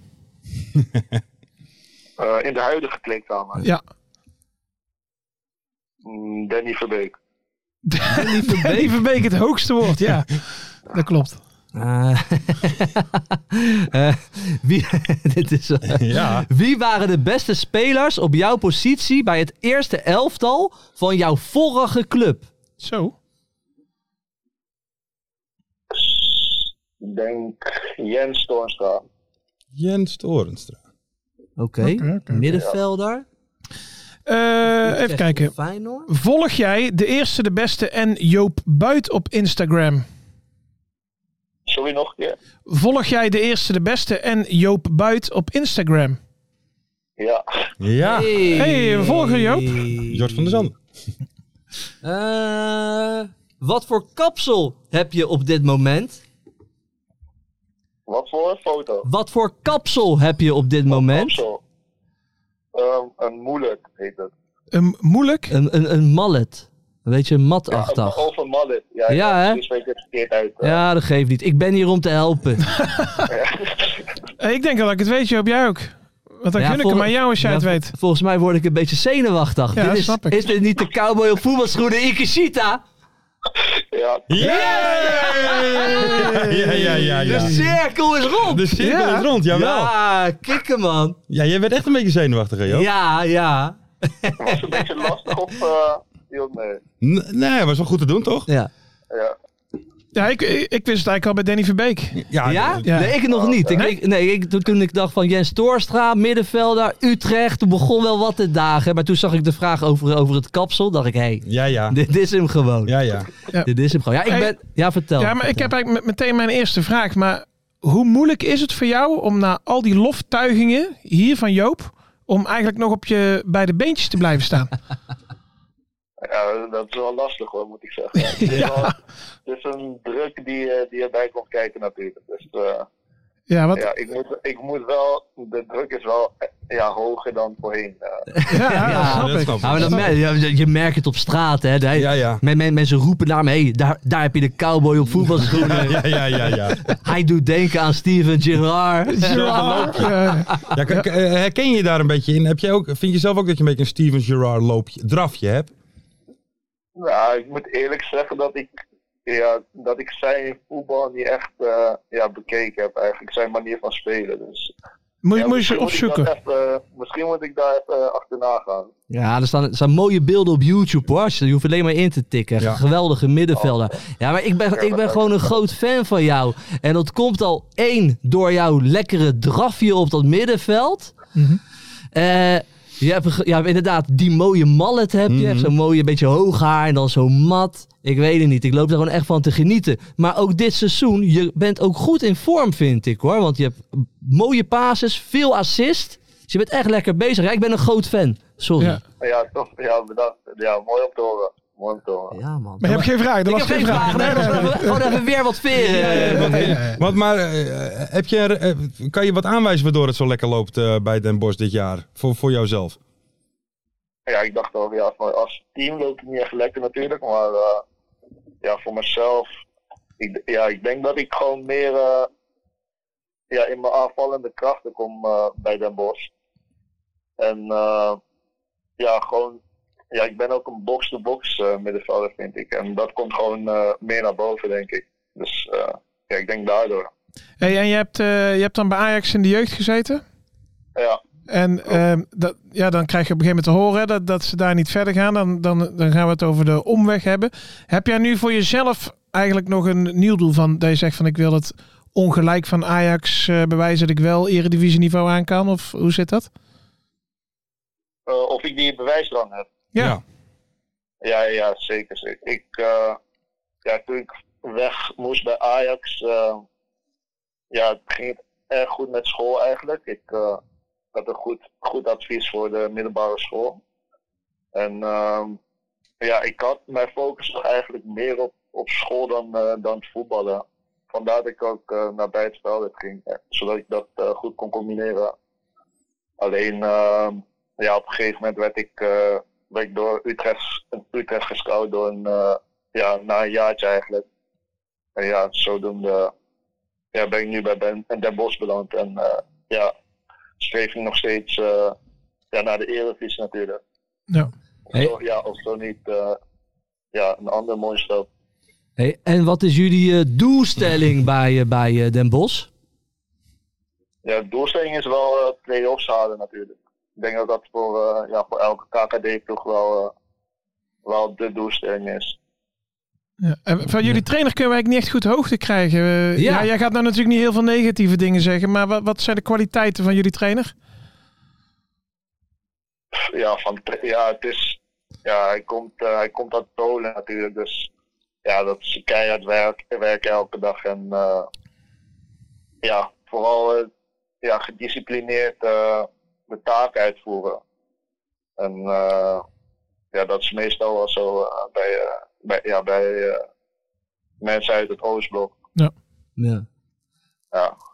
Eh, in de huidige kleedkamer. Ja. Mm, Danny Verbeek. Danny Verbeek het hoogste woord, ja. Dat klopt. Eh, eh, wie, dit is, eh, Ja. wie waren de beste spelers op jouw positie bij het eerste elftal van jouw vorige club? Zo. Ik denk Jens Toornstra. Jens Torenstra. Oké, oké, oké. middenvelder. Eh, even kijken. Feyenoord. Volg jij de eerste, de beste en Joop Buit op Instagram? Sorry nog een keer? Volg jij de eerste, de beste en Joop Buit op Instagram? Ja. Ja. Hey, we volgen Joop. Jort van der Zanden. Eh, wat voor kapsel heb je op dit moment? Wat voor een foto? Wat voor kapsel heb je op dit moment? Zo. Ehm, een moeilijk heet het. Een moeilijk. Een, een, een mallet. Een beetje een matachtig. Over Of een mallet. Ja, Ja, hè? Die spreekt het verkeerd uit. eh. Ja, dat geeft niet. Ik ben hier om te helpen. Nou, Eh, ik denk dat ik het weet, Joop. Jij ook. Want dan Ja, gun ik vol- hem aan jou als jij ja, het vol- weet. Volgens mij word ik een beetje zenuwachtig. Ja, dit is, snap ik. is dit niet de cowboy op voetbalschoenen Ikeshita? ja. Ja, ja, ja, ja. De cirkel is rond! De cirkel Ja. is rond, jawel. Ja, kikken man. Ja, jij werd echt een beetje zenuwachtig, hè, Joop? Ja, ja. Was het een beetje lastig of... eh, viel mee? N- nee, was wel goed te doen, toch? Ja? Ja. Ja, ik, ik ik wist het eigenlijk al bij Danny Verbeek. Ja. Ja. Nee, ik het nog niet. Ik, Nee? ik- nee, ik, toen- toen ik dacht van Jens Toorstra, middenvelder, Utrecht. Toen begon wel wat te dagen. Maar toen zag ik de vraag over, over het kapsel. dacht ik, hé, hey, Ja, ja. dit is hem gewoon. Ja, ja. Dit is hem gewoon. Ja, ik Hey. ben... Ja, vertel. Ja, maar ik heb eigenlijk met- meteen mijn eerste vraag. Maar hoe moeilijk is het voor jou om na al die loftuigingen hier van Joop... om eigenlijk nog op je beide beentjes te blijven staan? Ja, dat is wel lastig hoor, moet ik zeggen. Het is, wel- het is een druk die, eh, die erbij komt kijken natuurlijk. Dus eh, Ja, wat, ja. ja, ik moet, ik moet wel, de druk is wel eh, ja, hoger dan voorheen. eh. dat snap dat ik. snap ik. Ja, maar dat mer- ja, je, je merkt het op straat, hè. De- Ja, ja. men- men- mensen roepen naar me, hey, daar, daar heb je de cowboy op voetbalschoenen. Ja, ja, ja, ja. Hij doet denken aan Steven Gerrard. Ja, ja. Ja, k- k- eh, herken je daar een beetje in? Heb jij ook, vind je zelf ook dat je een beetje een Steven Gerrard loopje, drafje hebt? Nou, ik moet eerlijk zeggen dat ik, ja, dat ik zijn voetbal niet echt eh, ja, bekeken heb eigenlijk. Zijn manier van spelen. Dus Moet, Ja, moet je ze misschien moet ik dat opzoeken. echt, eh, misschien moet ik daar even eh, achterna gaan. Ja, er staan, er staan mooie beelden op YouTube hoor. Je hoeft alleen maar in te tikken. Ja. Geweldige middenvelder. Ja, maar ik ben, ik ben gewoon een groot fan van jou. En dat komt al één door jouw lekkere drafje op dat middenveld. Eh, je hebt, een ge- ja, inderdaad, die mooie mallet heb je. Zo'n mooie, beetje hoog haar en dan zo mat. Ik weet het niet. Ik loop daar gewoon echt van te genieten. Maar ook dit seizoen, je bent ook goed in vorm, vind ik hoor. Want je hebt mooie passes, veel assist. Dus je bent echt lekker bezig. Ja, ik ben een groot fan. Sorry. Ja. Ja, tof. Ja, bedankt. Ja, mooi om te horen. Mooi om te horen. Ja, man. Maar je hebt geen vraag. Dat ik was heb geen vraag. Nee, dat was gewoon even weer wat eh, veren. Want maar eh, heb je, er, eh, kan je wat aanwijzen waardoor het zo lekker loopt eh, bij Den Bosch dit jaar? Voor, voor jouzelf? Ja, ik dacht al, ja, voor- als team loopt het niet echt lekker natuurlijk, maar eh, ja, voor mezelf, ik, ja, ik denk dat ik gewoon meer eh, ja, in mijn aanvallende krachten kom eh, bij Den Bosch. En eh, ja, gewoon, ja, ik ben ook een box-to-box eh, middenvelder, vind ik. En dat komt gewoon eh, meer naar boven, denk ik. Dus eh, ja, ik denk daardoor. Hey, en je hebt, eh, je hebt dan bij Ajax in de jeugd gezeten. Ja, En ehm, dat, ja, dan krijg je op een gegeven moment te horen hè, dat, dat ze daar niet verder gaan. Dan, dan, dan gaan we het over de omweg hebben. Heb jij nu voor jezelf eigenlijk nog een nieuw doel van dat je zegt van ik wil het ongelijk van Ajax eh, bewijzen dat ik wel eredivisieniveau aan kan? Of hoe zit dat? Eh, of ik die bewijsdrang heb. Ja. Ja, ja, zeker. zeker. Ik, eh, ja, toen ik weg moest bij Ajax, eh, ja, het ging het erg goed met school eigenlijk. Ik eh, had een goed, goed advies voor de middelbare school. En ehm, ja, ik had mijn focus toch eigenlijk meer op, op school dan, eh, dan het voetballen. Vandaar dat ik ook eh, naar bij het spel ging, eh, zodat ik dat eh, goed kon combineren. Alleen, ehm, ja, op een gegeven moment werd ik, eh, ben ik door Utrecht, Utrecht gescout door een, eh, ja, na een jaartje eigenlijk. En ja, zodoende ja, ben ik nu bij ben, Den Bosch beland. En eh, ja, streef ik nog steeds eh, ja, naar de Eredivisie natuurlijk. Ja. Hey. Zo, ja, of zo niet, eh, ja, een ander mooi stap. Hey, en wat is jullie eh, doelstelling bij, eh, bij eh, Den Bosch? Ja, de doelstelling is wel eh play-offs halen natuurlijk. Ik denk dat dat voor, eh, ja, voor elke KKD-ploeg wel, eh, wel de doelstelling is. Ja. En van jullie trainer kunnen wij niet echt goed hoogte krijgen. Eh, Ja. ja. jij gaat nou natuurlijk niet heel veel negatieve dingen zeggen. Maar wat, wat zijn de kwaliteiten van jullie trainer? ja, van, tra- ja, het is, ja hij, komt, eh, hij komt uit Polen natuurlijk. Dus ja, dat is keihard werk, werk elke dag. En eh, ja, vooral eh, ja, gedisciplineerd eh, de taak uitvoeren. En eh, ja, dat is meestal wel zo eh, bij, eh, bij, ja, bij eh, mensen uit het Oostblok. Ja. Ja.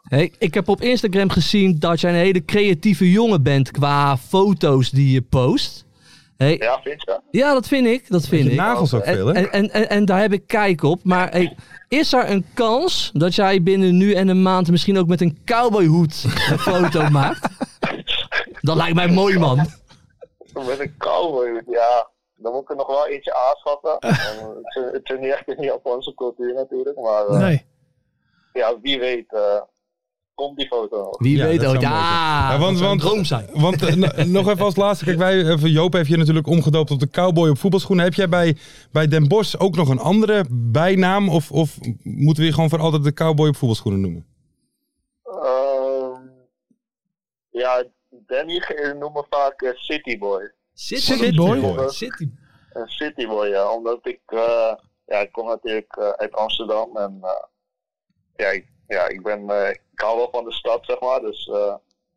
Hey, ik heb op Instagram gezien dat jij een hele creatieve jongen bent qua foto's die je post. Hey, ja. ja, vind je? dat vind ik. Dat vind Je ik. nagels ook veel, En, hè? en, en, en, en daar heb ik kijk op. Maar hey, is er een kans dat jij binnen nu en een maand misschien ook met een cowboyhoed een foto maakt? Dat lijkt mij mooi, man. Met een cowboy, ja. Dan moet ik er nog wel eentje aanschaffen. En eh, het, is, het is niet echt in Japanse cultuur natuurlijk, maar eh, Nee. ja, wie weet eh, komt die foto nog. Wie Ja, weet dat ooit. zou mooi zijn. Ja, Ja, dat want- zou een want- droom zijn. Want eh, no- nog even als laatste, kijk, wij, eh, Joop heeft je natuurlijk omgedoopt op de cowboy op voetbalschoenen. Heb jij bij, bij Den Bosch ook nog een andere bijnaam? Of, of moeten we je gewoon voor altijd de cowboy op voetbalschoenen noemen? Ehm, ja, Danny ge- noemt me vaak eh, City Boy. City Boy. City. Een City Boy, ja. Omdat ik, eh, ja, ik kom natuurlijk eh, uit Amsterdam en eh, ja, ik, ja, ik ben, eh, ik hou wel van de stad, zeg maar. Dus eh,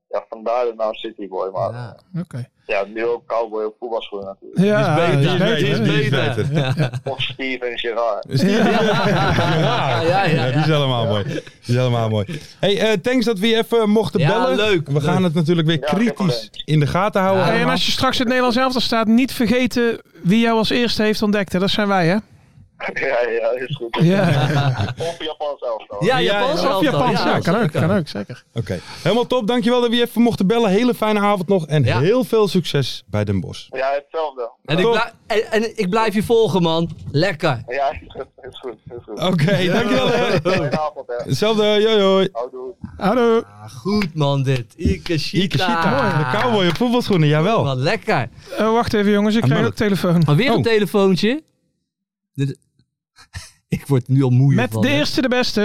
ja, vandaar de naam City Boy. Maar ja, Ja. Oké. nu ook cowboy op voetbalschoenen natuurlijk. Ja, beter, dat is die beter, beter, hè? die is beter. Of Steven Gerrard. Is die- Ja, ja, ja. die is helemaal mooi. Die is helemaal mooi. Hey, eh, thanks dat we je even mochten Ja, bellen. leuk, We leuk. gaan het natuurlijk weer Ja, geen kritisch probleem. in de gaten houden. Hey, en allemaal. als je straks het Nederlands elftal staat, niet vergeten wie jou als eerste heeft ontdekt. Hè? Dat zijn wij, hè? Ja, ja, is goed. Ja. Of Japans elftal. Ja, Ja, Japans of elftal. Japans, Ja, kan ook, zeker. kan ook, zeker. Oké, helemaal top. Dankjewel dat we je even mochten bellen. Hele fijne avond nog en Ja. heel veel succes bij Den Bosch. Ja, hetzelfde. En ik, Top. blij- en, en ik blijf je volgen, man. Lekker. Ja, is goed, is goed. Is goed. Oké, dankjewel. hè. Fijne avond, hè. Hetzelfde, joi joi. Houdoe. Hallo. Ah, goed, man, dit. Ikeshita. Mooi, De cowboy op voetbalschoenen, jawel. Wat lekker. Eh, wacht even jongens, ik Ah, krijg maar- een telefoon. Maar weer Oh. een telefoontje. Dit... ik word nu al moe Met van. de hè. eerste de beste.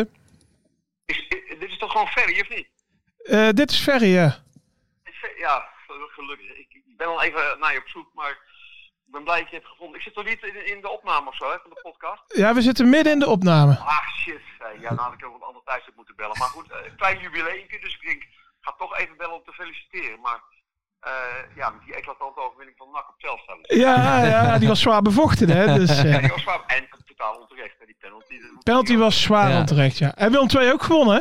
Is- i- dit is toch gewoon Ferry, of niet? Eh, dit is Ferry, ja. Is Fer- Ja, gelukkig. Ik ik ben al even naar je op zoek, maar ik ben blij dat je het hebt gevonden. Ik zit toch niet in, in de opname of zo, hè, van de podcast? Ja, we zitten midden in de opname. Ah, shit. Eh, Ja, dan had ik ook een ander tijdstip moeten bellen. Maar goed, eh, klein jubileumpje, dus ik denk, ik ga toch even bellen om te feliciteren. Maar eh, ja, met die eclatante overwinning van NAC op Telstra. Eh. Ja, ja, die was zwaar bevochten, hè. Dus, eh, En die was zwaar- en totaal onterecht, hè, die penalty. Dat moet- penalty was zwaar Ja. onterecht, ja. En Willem 2 ook gewonnen, hè?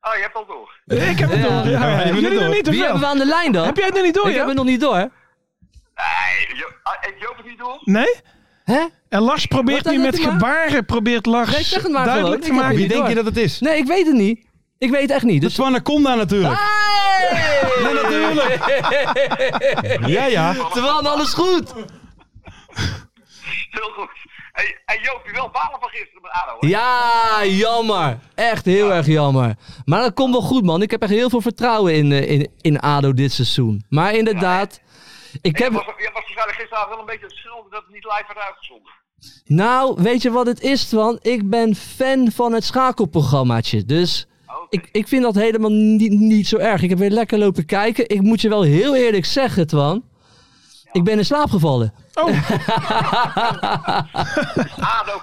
Ah, je hebt al door. Ik heb het Ja. door. Ja, Ja, ja. je bent Jullie het nog door. niet te Wie hebben we veel. aan de lijn dan? Heb jij het nog niet door, ik heb ja? het nog niet door. Nee, jo- ah, heeft Joop het niet door? Nee? Hè? En Lars probeert Wat dan nu met doet hij maar? gebaren, probeert Nee, Lars zeg het maar gewoon. duidelijk Ik te heb het maken. Wie niet denk door. je dat het is? Nee, ik weet het niet. Ik weet het echt niet. De Dus... Swanaconda natuurlijk. Hey! Ja, natuurlijk. Ja, ja. Twan, alles goed? Heel goed. En, en Joop, je wel balen van gisteren met ADO, hè? Ja, jammer. Echt heel erg jammer. Maar dat komt wel goed, man. Ik heb echt heel veel vertrouwen in, eh, in, in ADO dit seizoen. Maar inderdaad, ik Je heb... was, je was waarschijnlijk gisteravond wel een beetje het schuldig dat het niet live werd uitgezonden. Nou, weet je wat het is, Twan? Ik ben fan van het schakelprogrammaatje. Dus Oké. ik, ik vind dat helemaal niet, niet zo erg. Ik heb weer lekker lopen kijken. Ik moet je wel heel eerlijk zeggen, Twan. Ik ben in slaap gevallen. Oh, ADO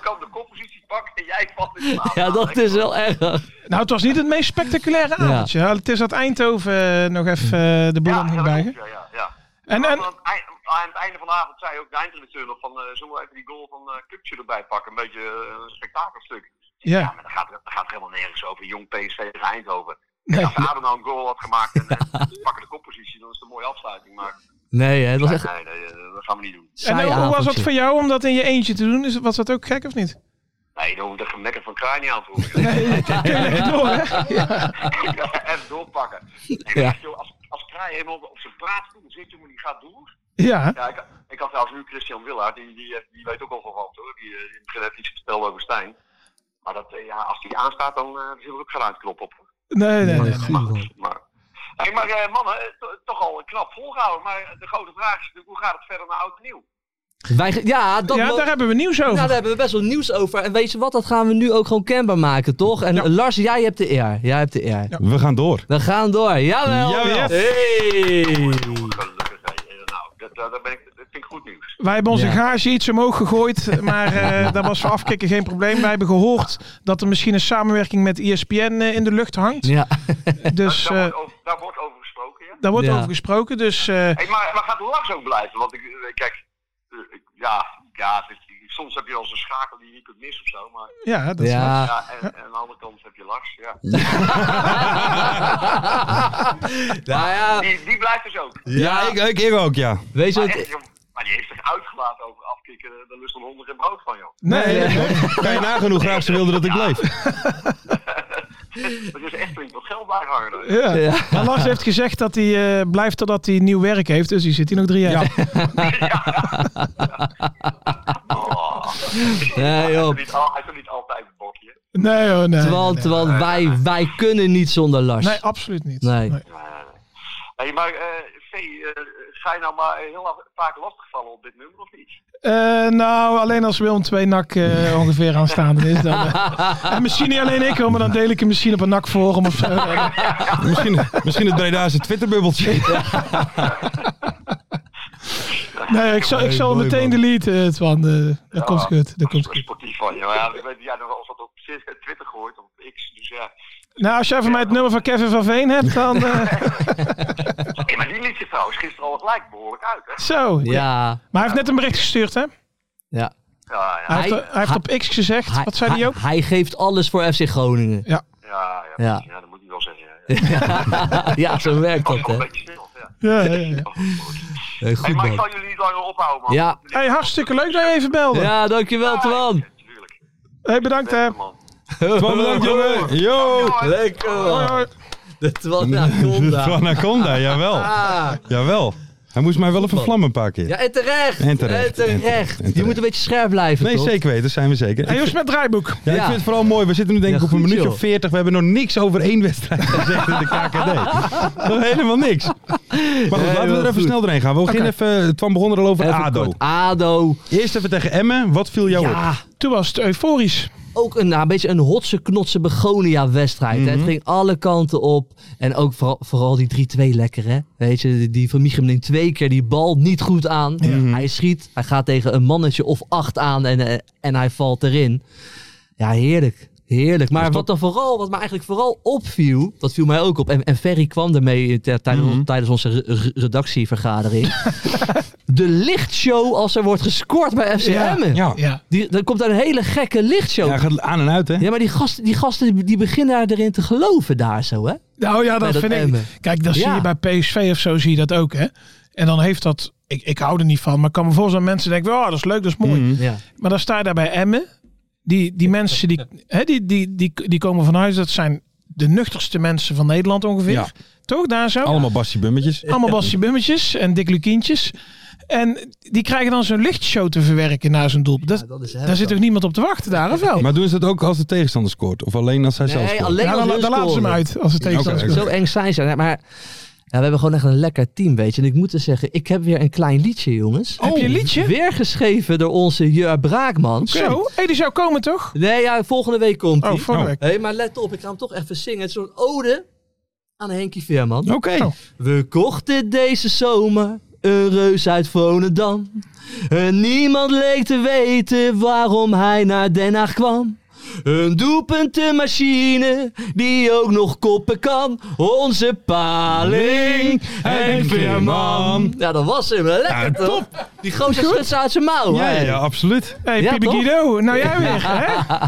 kan de koppositie pakken en jij valt in slaap. Ja, dat is wel erg. Nou, het was niet het meest spectaculaire Ja. avondje. hè. Het is dat Eindhoven eh, nog even eh, de boel Ja, aan ging ja, dat buigen. klopt, ja, ja, ja. En, Maar en, Aan, het eind- aan het einde van de avond zei ook de eindredacteur nog van... eh zullen we even die goal van eh Kukje erbij pakken? Een beetje eh, een spektakelstuk. Ja, ja. maar dat gaat, dat gaat helemaal nergens over. Jong PSV tegen Eindhoven. Nee. Als ADO nou een goal had gemaakt en, en ze pakken de koppositie... dan is het een mooie afsluiting. Maar Nee, hè, het was echt nee, nee, eh, dat gaan we niet doen. en saai hoe- hoe was dat avondje. voor jou om dat in je eentje te doen? Is, was dat ook gek of niet? Nee, dan hoef ik de gemekken van Kraai niet aan te horen. Ja, even doorpakken. Ja. Ja. Joh, als, als Kraai helemaal op zijn plaats komt, dan zit je maar die gaat door. Ja. Ja, ik, ik had trouwens nu Christian Willaert, die, die, eh, die weet ook al van wat hoor. Die eh, in het begin heeft iets verteld over Stijn. Maar dat, eh, ja, als die aanstaat, dan eh zit er ook geen uitknop op. Nee, nee, nee. Goed, man. Maar, hey, maar eh, mannen, eh, to- toch al knap volgehouden. Maar eh, de grote vraag is natuurlijk, hoe gaat het verder naar oud en nieuw? Wij ge- ja, dat Ja, mo- daar hebben we nieuws nou, over. daar hebben we best wel nieuws over. En weet je wat, dat gaan we nu ook gewoon kenbaar maken, toch? En Ja. Lars, jij hebt de eer. Jij hebt de eer. We gaan door. We gaan door. Jawel. Jawel. Hey. Gelukkig, eh, eh, nou, dat, dat, dat ben ik, dat vind ik goed nieuws. Wij hebben onze Ja. gage iets omhoog gegooid, maar eh daar was voor afkikken geen probleem. Wij hebben gehoord dat er misschien een samenwerking met ESPN eh, in de lucht hangt. Ja. Dus daar, eh, wordt over, daar wordt over gesproken, ja. daar wordt Ja. over gesproken. Dus eh, Hey, maar, maar gaat Lars ook blijven? Want ik, eh, kijk, eh, ik- ja, ja het is- soms heb je al zo'n schakel die je niet kunt missen of zo. Maar ja, dat is ja. ja, en, en aan de andere kant heb je Lars. Ja. Nou ja, Die, die blijft dus ook. Ja, ik, ik, ik ook, ja. weet je Maar, wat... echt, joh, maar die heeft zich uitgelaten over eh, afkikken. Daar lust een honderd in brood van, joh. Nee, kan je nagaan hoe graag ze wilden dat ik bleef. Dat is echt flink wat geld bijhangen. hoor. Ja. Ja. Maar Lars heeft gezegd dat hij eh, blijft totdat hij nieuw werk heeft. Dus hij zit hier nog drie jaar. Oh, Nee, hij, is joh. er niet, al- hij is er niet altijd een bokje. Nee hoor, nee. Terwijl, nee, terwijl wij, wij kunnen niet zonder Lars. nee. oh, Nee, absoluut niet. Nee. Hey, maar eh Vee, eh, ga je nou maar heel af- vaak lastigvallen op dit nummer of niet? Eh, nou, alleen als Willem 2 nak eh, ongeveer aanstaande is. Dan, eh. en misschien niet alleen ik hoor, maar dan deel ik hem misschien op een nak forum of zo. Misschien, misschien het Breda's Twitterbubbeltje. Nee, ik zal, ik zal hem mooi, meteen man. deleten, eh, Twan. eh, dat komt goed, dat komt Dat is goed. sportief van je. Maar ja, ik weet, ja, dat was wat op Twitter gehoord, op X. Dus ja. Nou, als jij van mij het nummer van Kevin van Veen hebt, dan... eh, Hey, maar die liet zich trouwens gisteren al gelijk behoorlijk uit, hè? zo. Ja, Maar hij heeft net een bericht gestuurd, hè? ja. Ja, ja, Hij, heeft, Hij- hij heeft op X gezegd, Hij, wat zei hij ook? hij, hij geeft alles voor FC Groningen. ja, ja, Ja. precies. ja. dat moet ik wel zeggen. Ja, ja. Ja, zo werkt Dat dat, was wel hè. een beetje snel, Ja, ja. ja, ja. Hey, Hey, Goed, maar ik man. zal jullie niet langer ophouden, man. Ja. Hey, hartstikke leuk dat je even belde. Ja, dankjewel, Twan. Tuurlijk. Eh, Hey, bedankt, hè. Beste man. Twan, bedankt jongen. Yo. oh, Lekker man. De Twanaconda. Anaconda, jawel. Ah. Jawel. Hij moest mij wel even vlammen een paar keer. Ja, en terecht. En terecht, En terecht. en terecht. Je moet een beetje scherp blijven, Nee, toch? zeker weten, zijn we zeker. Hey, hoe is het met het draaiboek? Ja, ik Ja. vind het vooral mooi. We zitten nu denk ik Ja, op een goed, minuutje joh. of 40. We hebben nog niks over één wedstrijd gezegd in de KKD. Nog helemaal niks. Maar goed, laten we wel er even goed. snel doorheen gaan. We beginnen even, Twan begon er al over Even ADO. Oh. kort. ADO. Eerst even tegen Emmen. Wat viel jou op? Ja, Toen was het euforisch. ook een, nou, een beetje een hotse knotse Begonia-wedstrijd. hè. Het ging alle kanten op. En ook vooral, vooral die 3-2 lekker, hè. Weet je, die- die van Michem neemt twee keer die bal niet goed aan. Hij schiet, hij gaat tegen een mannetje of acht aan en, eh, en hij valt erin. Ja, heerlijk. Heerlijk. Maar wat, dan vooral, wat me eigenlijk vooral opviel, dat viel mij ook op. En, en Ferry kwam ermee eh, tijdens, tijdens onze re- re- redactievergadering. de lichtshow als er wordt gescoord bij FC Ja. Emmen. Ja, Ja. Die, dan komt daar een hele gekke lichtshow. Ja, hij gaat aan en uit hè. Ja, maar die gasten, die gasten die- die beginnen daar erin te geloven daar zo, hè? Nou ja, Bij dat dat vind Emmen. ik. Kijk, dat zie Ja. je bij PSV of zo zie je dat ook, hè. En dan heeft dat... Ik, ik hou er niet van, maar ik kan me voorstellen dat mensen denken... Oh, dat is leuk, dat is mooi. Ja. Maar dan sta je daar bij Emmen. Die, die mensen die, hè, die, die, die, die komen van huis. Dat zijn de nuchterste mensen van Nederland ongeveer. Ja. Toch daar zo? Allemaal Bassie Bummetjes. Allemaal Bassie Bummetjes en Dick Lukientjes. En die krijgen dan zo'n lichtshow te verwerken naar zo'n doel. Dat, dat is daar zit toch niemand op te wachten daar, of wel? Maar doen ze dat ook als de tegenstander scoort? Of alleen als hij zelf Oh. Nee, scoort? alleen Ja, als dan, hun dan laten ze hem scoren. uit als het tegenstander oké. scoort. Zo eng zijn ze. Maar ja, we hebben gewoon echt een lekker team, weet je. En ik moet er zeggen, ik heb weer een klein liedje, jongens. Heb je een liedje? Weer geschreven Oh. door onze Jur Braakman. Zo, hey, die zou komen toch? Nee, ja, volgende week komt hij. Oh, vorige week. Hé, maar let op, ik ga hem toch even zingen. Het is zo'n ode aan Henkie Veerman. Oké. Oh. We kochten deze zomer een reus uit Volendam. En niemand leek te weten waarom hij naar Den Haag kwam. Een doelpuntenmachine die ook nog koppen kan. Onze paling en Veerman. Ja, dat was hem. hè? Lekker Ja, toch? Die gozer schudt ze uit zijn mouw. Ja, hè? ja, absoluut. Hey, Ja, Pibe toch? Guido, nou jij weer. Hè?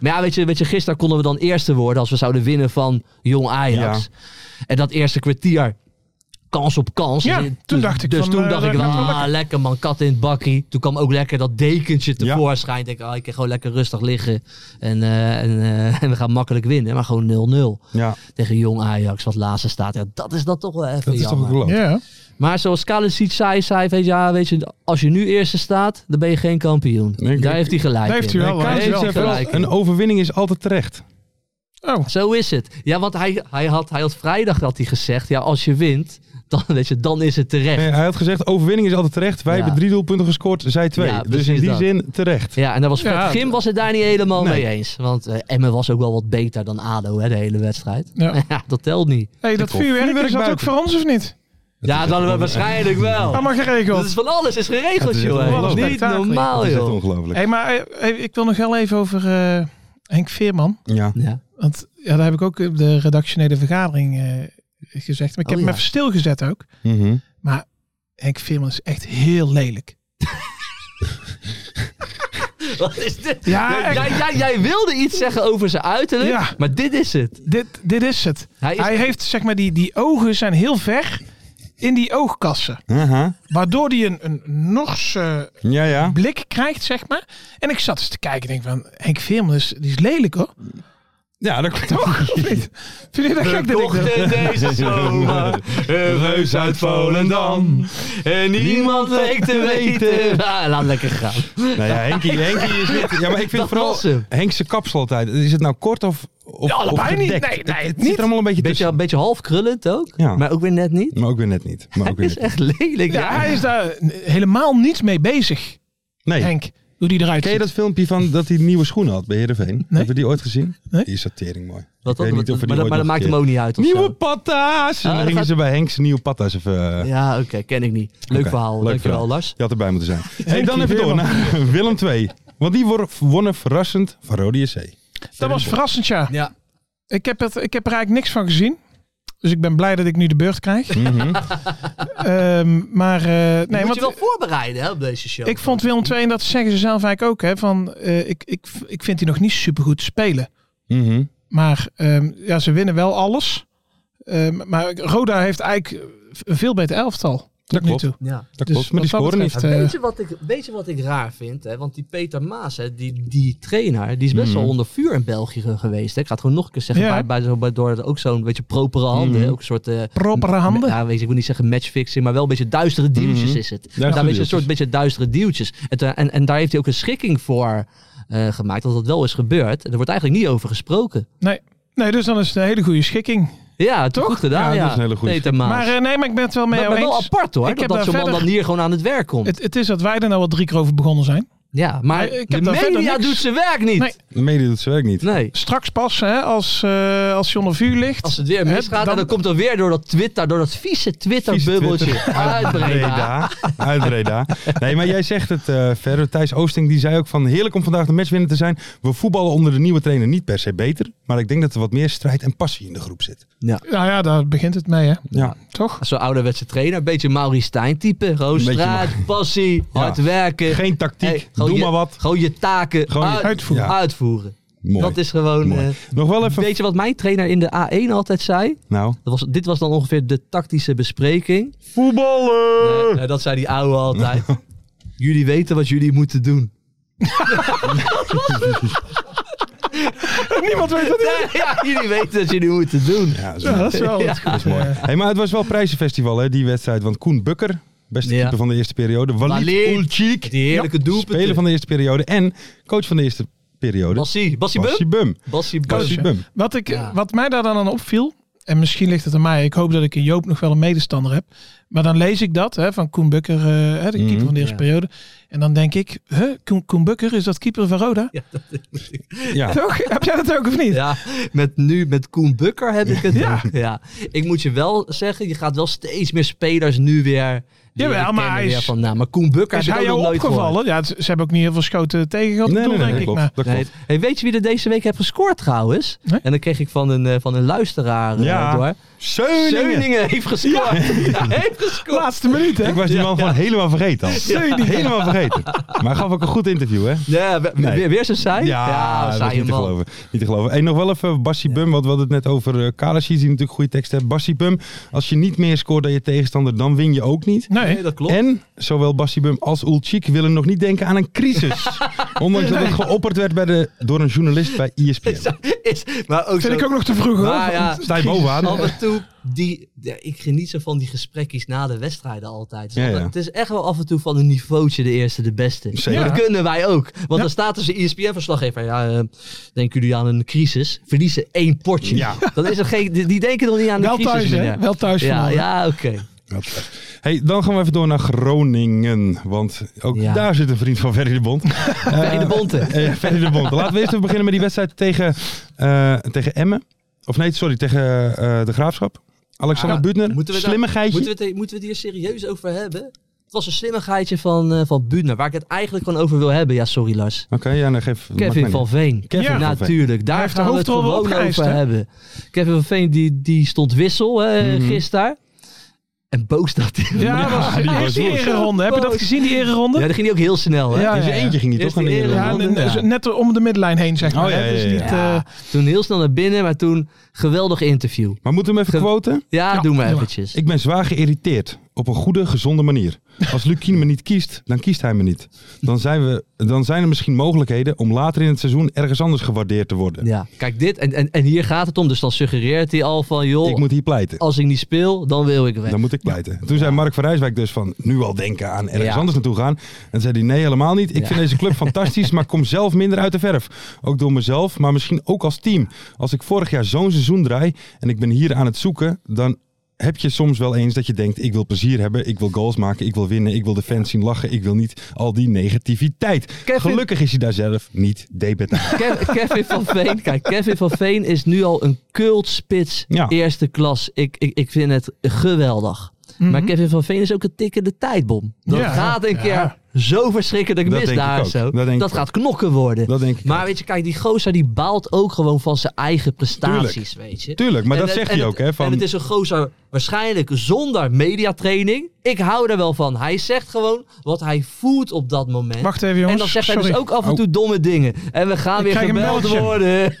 Maar ja, weet je, weet je, gisteren konden we dan eerste worden als we zouden winnen van Jong Ajax. En dat eerste kwartier, kans op kans. Ja, Dus- toen dacht ik Dus van, toen eh, dacht ik dat wel, gaat wel ah, lekker. lekker. man, kat in het bakkie. Toen kwam ook lekker dat dekentje Ja. tevoorschijn. Ik denk, ah, ik kan gewoon lekker rustig liggen. En, eh, en, eh, en we gaan makkelijk winnen. Maar gewoon 0-0 Ja, tegen Jong Ajax, wat laatste staat. Ja, dat is dan toch wel even dat is toch jammer. een geloof. Ja. Maar zoals Kalisic zei, zei hij, ja, weet je, als je nu eerste staat, dan ben je geen kampioen. Nee, Daar ik- heeft hij gelijk Daar heeft in. hij wel. Kijk, hè? Heeft hij ze hebben wel- gelijk. een overwinning is altijd terecht. Oh, Zo is het. Ja, want hij, hij, had, hij had vrijdag had hij gezegd: ja, als je wint, dan, weet je, dan is het terecht. Nee, hij had gezegd, overwinning is altijd terecht. Wij Ja. hebben drie doelpunten gescoord, zij twee. Ja, dus in precies die dat. zin terecht. Ja, en daar was Ja, Fred dat- Gim was het daar niet helemaal Nee. mee eens. Want eh, Emmen was ook wel wat beter dan ADO hè, de hele wedstrijd. Ja. Ja, dat telt niet. hey, dat vuurwerk Vuurwerk is dat ook buiten. voor ons of niet? ja, dan we waarschijnlijk wel. Allemaal Oh. Dat geregeld. is van alles is geregeld, is echt joh. ongelooflijk. Niet Spektakel. normaal, Dat is echt joh. ongelooflijk. hey, maar eh, eh, ik wil nog heel even over eh, Henk Veerman. Ja. Ja. Want ja, daar heb ik ook op de redactionele vergadering eh, gezegd. Maar ik Oh, heb ja. hem even stilgezet ook. Mhm. Maar Henk Veerman is echt heel lelijk. Wat is dit? Ja, jij, echt. jij, jij, jij wilde iets zeggen over zijn uiterlijk, Ja. maar dit is het. Dit, dit is het. Hij Hij, is- heeft, zeg maar, die, die ogen zijn heel ver in die oogkassen. Aha. Waardoor hij een, een Norse Ja, ja. blik krijgt, zeg maar. En ik zat eens te kijken en denk van, Henk Veerman is, die is lelijk hoor. Ja, dat klopt. Toch? Of niet? Vind Eh, je dat gek? dat ik dat- Kochten deze zomer een reus uit Volendam. En niemand leek te weten. Ah, laat lekker gaan. Nou ja, Henkie, Henkie is niet... Ja, maar ik vind Dat vooral was hem. Henkse kapsel altijd. Is het nou kort of, of, Ja, allebei of niet. gedekt? Nee, nee, Het- het niet. zit er allemaal een beetje Beetje, tussen. beetje half krullend ook, Ja. maar ook weer net niet. Maar ook weer net niet. Maar ook weer Is net niet. echt lelijk. Ja, Ja, hij is daar helemaal niet mee bezig, Nee. Henk. Hoe die eruit Ken je ziet. dat filmpje van dat hij nieuwe schoenen had bij Heerenveen? Hebben we die ooit gezien? Nee. Die is satering mooi. Wat, Ik weet wat- niet of we die maar dat, ooit maar dat nog maakt een hem ook niet uit. keer- of Nieuwe zo. patta's! En Ah, dan dat gingen gaat- ze bij Henk's nieuwe patta's even... eh, Ja, oké, ken ik niet. Leuk Oké, verhaal, leuk dankjewel verhaal. Lars. Je had erbij moeten zijn. Hey, dan even door naar Willem 2. Want die wor- wonnen verrassend van Rode SC. Dat was verrassend, ja. Ja. Ik heb, het, ik heb er eigenlijk niks van gezien. Dus ik ben blij dat ik nu de beurt krijg. Ehm, maar eh, Nee, nee, Moet je wel want voorbereiden hè, op deze show. ik vond Willem II, en dat zeggen ze zelf eigenlijk ook, hè, van, eh, ik, ik, ik vind die nog niet supergoed spelen. Mhm. Maar ehm, ja, ze winnen wel alles. Ehm, maar Roda heeft eigenlijk een veel beter elftal. tot nu klopt. toe. Ja. Dat Dus klopt, maar die wat dat scoren niet. betreft, eh, Weet, je wat ik, weet je wat ik raar vind? Hè? Want die Peter Maas, hè, die, die trainer, die is best Mhm. wel onder vuur in België ge- geweest. Hè? Ik ga het gewoon nog een keer zeggen. Ja. Bij, bij, zo- bij- door ook zo'n beetje propere handen. Mhm. Ook een soort... eh, propere handen. Ja, weet je, ik wil niet zeggen matchfixing, maar wel een beetje duistere dealtjes Mhm. is het. Duistere daar weet je, een dealtjes. soort beetje duistere dealtjes. En, toen- en, en daar heeft hij ook een schikking voor eh, gemaakt, dat dat wel is gebeurd. En er wordt eigenlijk niet over gesproken. Nee, dus dan is het een hele goede schikking. Ja, het is Toch? Goed gedaan, ja, Ja, dat is een hele goede Peter Maas. Maar eh, nee, maar ik ben het wel mee maar, jou maar wel eens. apart hoor, Ik dat, heb dat daar zo'n man verder- dan hier gewoon aan het werk komt. Het, het is dat wij er nou wel drie keer over begonnen zijn. ja, maar Maar ik heb de daar verder media niks- doet zijn werk niet. Nee. De media doet zijn werk niet. Nee. Straks pas, hè, als, eh als John de Vuur ligt. Als het weer Hè, misgaat, dan- dan, dan komt dat weer door dat Twitter, door dat vieze Twitter-bubbeltje Twitter. uit Breda. Breda. Uit Breda. Nee, maar jij zegt het eh, verder. Thijs Oosting die zei ook van heerlijk om vandaag de matchwinner te zijn. We voetballen onder de nieuwe trainer niet per se beter. Maar ik denk dat er wat meer strijd en passie in de groep zit. Nou ja, daar begint het mee, hè? Ja. Toch? Zo'n ouderwetse trainer, een beetje Mauri Stijn type. Gewoon Een beetje straat, passie, Ja. hard werken. Geen tactiek. Hey, gewoon Doe je- maar wat. Gewoon je taken Gewoon je- uit- uitvoeren. Ja. uitvoeren. Mooi. Dat is gewoon... Mooi. eh, Nog wel even... weet je wat mijn trainer in de A1 altijd zei? Nou. Dat was, dit was dan ongeveer de tactische bespreking. Voetballen! Eh, eh, dat zei die ouwe altijd. jullie weten wat jullie moeten doen. Niemand weet dat. ja, ja, jullie weten wat jullie moeten doen. Ja, dat is Ja, mooi. dat is wel dat is goed. eh. Hey, maar het was wel prijzenfestival hè, die wedstrijd. Want Koen Bukker, beste Ja. keeper van de eerste periode. Walid Walid. Ulcik. Die heerlijke doelpunten. Speler van de eerste periode. En coach van de eerste periode. Bassie, Bassie Bum? Bassie Bum. Bassie Bum. Bassie Bum. Wat, ik, Ja. wat mij daar dan aan opviel, en misschien ligt het aan mij, ik hoop dat ik in Joop nog wel een medestander heb. Maar dan lees ik dat hè, van Koen Bukker, eh, hè, de keeper Mhm. van de eerste Ja. periode. En dan denk ik, huh, Koen, Koen Bukker, is dat keeper van Roda? Ja. Toch? heb jij dat ook of niet? Ja, met nu met Koen Bukker heb ik het. Ja. Ja. ja. Ik moet je wel zeggen, je gaat wel steeds meer spelers nu weer. die Jawel, we maar kennen hij is- weer van, nou, maar Koen Bukker Is heb ik hij ook jou nog nooit gehoord. opgevallen? Ja, ze ze hebben ook niet heel veel schoten tegen gehad, Nee, nee, bedoel, nee, denk dat ik. klopt. maar- Dat Nee, klopt. hey, weet je wie er deze week heeft gescoord trouwens? Nee? En dan kreeg ik van een, eh, van een luisteraar eh, Ja. door. Zeuningen. Zeuningen heeft gescoord. Ja, heeft gescoord. Laatste minuut, hè? Ik was die man gewoon helemaal vergeten al. Zeuningen. Helemaal vergeten. Maar hij gaf ook een goed interview, hè? Ja, we- Nee. weer, weer zo saai? dat is saaie niet te man. geloven. Niet te geloven. Hey, nog wel even Bassie Bum, want we hadden het net over eh Kalashi, die natuurlijk goede tekst heeft. Bassie Bum, als je niet meer scoort dan je tegenstander, dan win je ook niet. Nee, Nee, dat klopt. En zowel Bassie Bum als Ulchik willen nog niet denken aan een crisis. Ondanks dat het geopperd werd bij de, door een journalist bij E ESPN. Is, maar ook vind zo- ik ook nog te vroeg, hoor. Maar Nou ja, Sta je bovenaan? Af en toe, die, ja, ik geniet zo van die gesprekjes na de wedstrijden altijd. Het is, Ja, altijd- ja. Het is echt wel af en toe van een niveautje de eerste de beste. Zeker. Dat kunnen wij ook. Want Ja. dan staat dus een ESPN-verslaggever. Ja, eh, denken jullie aan een crisis? Verliezen één potje. Ja. Dat is er geen, die, die denken nog niet aan Wel de crisis thuis, hè? meneer. Wel thuis Ja, verloren. ja oké. Hey, dan gaan we even door naar Groningen. Want ook Ja. daar zit een vriend van Ferry de Bond. Ferry de Bonte. Eh, Ferry de Bond. Laten we eerst even beginnen met die wedstrijd tegen, eh, tegen Emmen. Of nee, sorry, tegen eh, de Graafschap. Alexander Ja, Buutner, Ah, moeten we daar- slimmigheidje. Moeten we, het, moeten we het hier serieus over hebben? Het was een slimmigheidje van, eh van Buutner, waar ik het eigenlijk gewoon over wil hebben. Ja, sorry Lars. Oké, ja, dan geef... maakt mij Kevin van niet. Veen. Kevin ja, van Veen. natuurlijk. Daar heeft de gaan we het hoofdrol wel gewoon opgeëist, over hè? hebben. Kevin van Veen die, die stond wissel hè, gisteren. En boos dat hij. Mhm. Ja, was, die die was eerst die los. ereronde. Heb je dat Boos. gezien, die Ja, ereronde? dat ging hij ook heel snel. Hè? Ja, In zijn ja, ja. eerdje ging hij Eerst toch aan de die eerder. eerder. Ja, ronde, en- en- ja. net om de midlijn heen, zeg maar. Oh, ja, hè. ja, Dus ja, niet, Ja, eh, toen heel snel naar binnen, maar toen geweldig interview. Maar moeten we hem even Ge- quoten? Ja, Ja, doe maar doe maar. eventjes. Ik ben zwaar geïrriteerd. Op een goede, gezonde manier. Als Lukien me niet kiest, dan kiest hij me niet. Dan zijn, we, dan zijn er misschien mogelijkheden om later in het seizoen ergens anders gewaardeerd te worden. Ja, kijk dit. En, en, en hier gaat het om. Dus dan suggereert hij al van, joh, Ik moet hier pleiten. als ik niet speel, dan wil ik weg. Dan moet ik pleiten. Toen zei Mark van Rijswijk dus van nu al denken aan ergens Ja. anders naartoe gaan. En zei hij nee helemaal niet. Ik Ja. vind deze club fantastisch, maar kom zelf minder uit de verf. Ook door mezelf, maar misschien ook als team. Als ik vorig jaar zo'n seizoen draai en ik ben hier aan het zoeken, dan heb je soms wel eens dat je denkt ik wil plezier hebben, ik wil goals maken, ik wil winnen, ik wil de fans zien lachen, ik wil niet al die negativiteit. Kevin- Gelukkig is hij daar zelf niet debet aan. Kev- Kevin van Veen. Kijk, Kevin van Veen is nu al een cultspits Ja. eerste klas. Ik, ik, ik vind het geweldig. Maar Mhm. Kevin van Veen is ook een tikkende tijdbom. Dat Ja. gaat een Ja. keer zo verschrikkelijk Dat mis denk ik daar ook. zo. Dat denk Dat, ik gaat knokken worden. Dat denk ik. maar weet je, kijk, die gozer die baalt ook gewoon van zijn eigen prestaties, Tuurlijk. weet je. Tuurlijk, maar En dat het- zegt en hij het- ook hè van En het is een gozer waarschijnlijk zonder mediatraining. Ik hou er wel van. Hij zegt gewoon wat hij voelt op dat moment. Wacht even, jongens. en dan zegt hij Sorry. Oh. dus ook af en toe domme dingen. En we gaan weer krijg een gebeld mailtje. worden.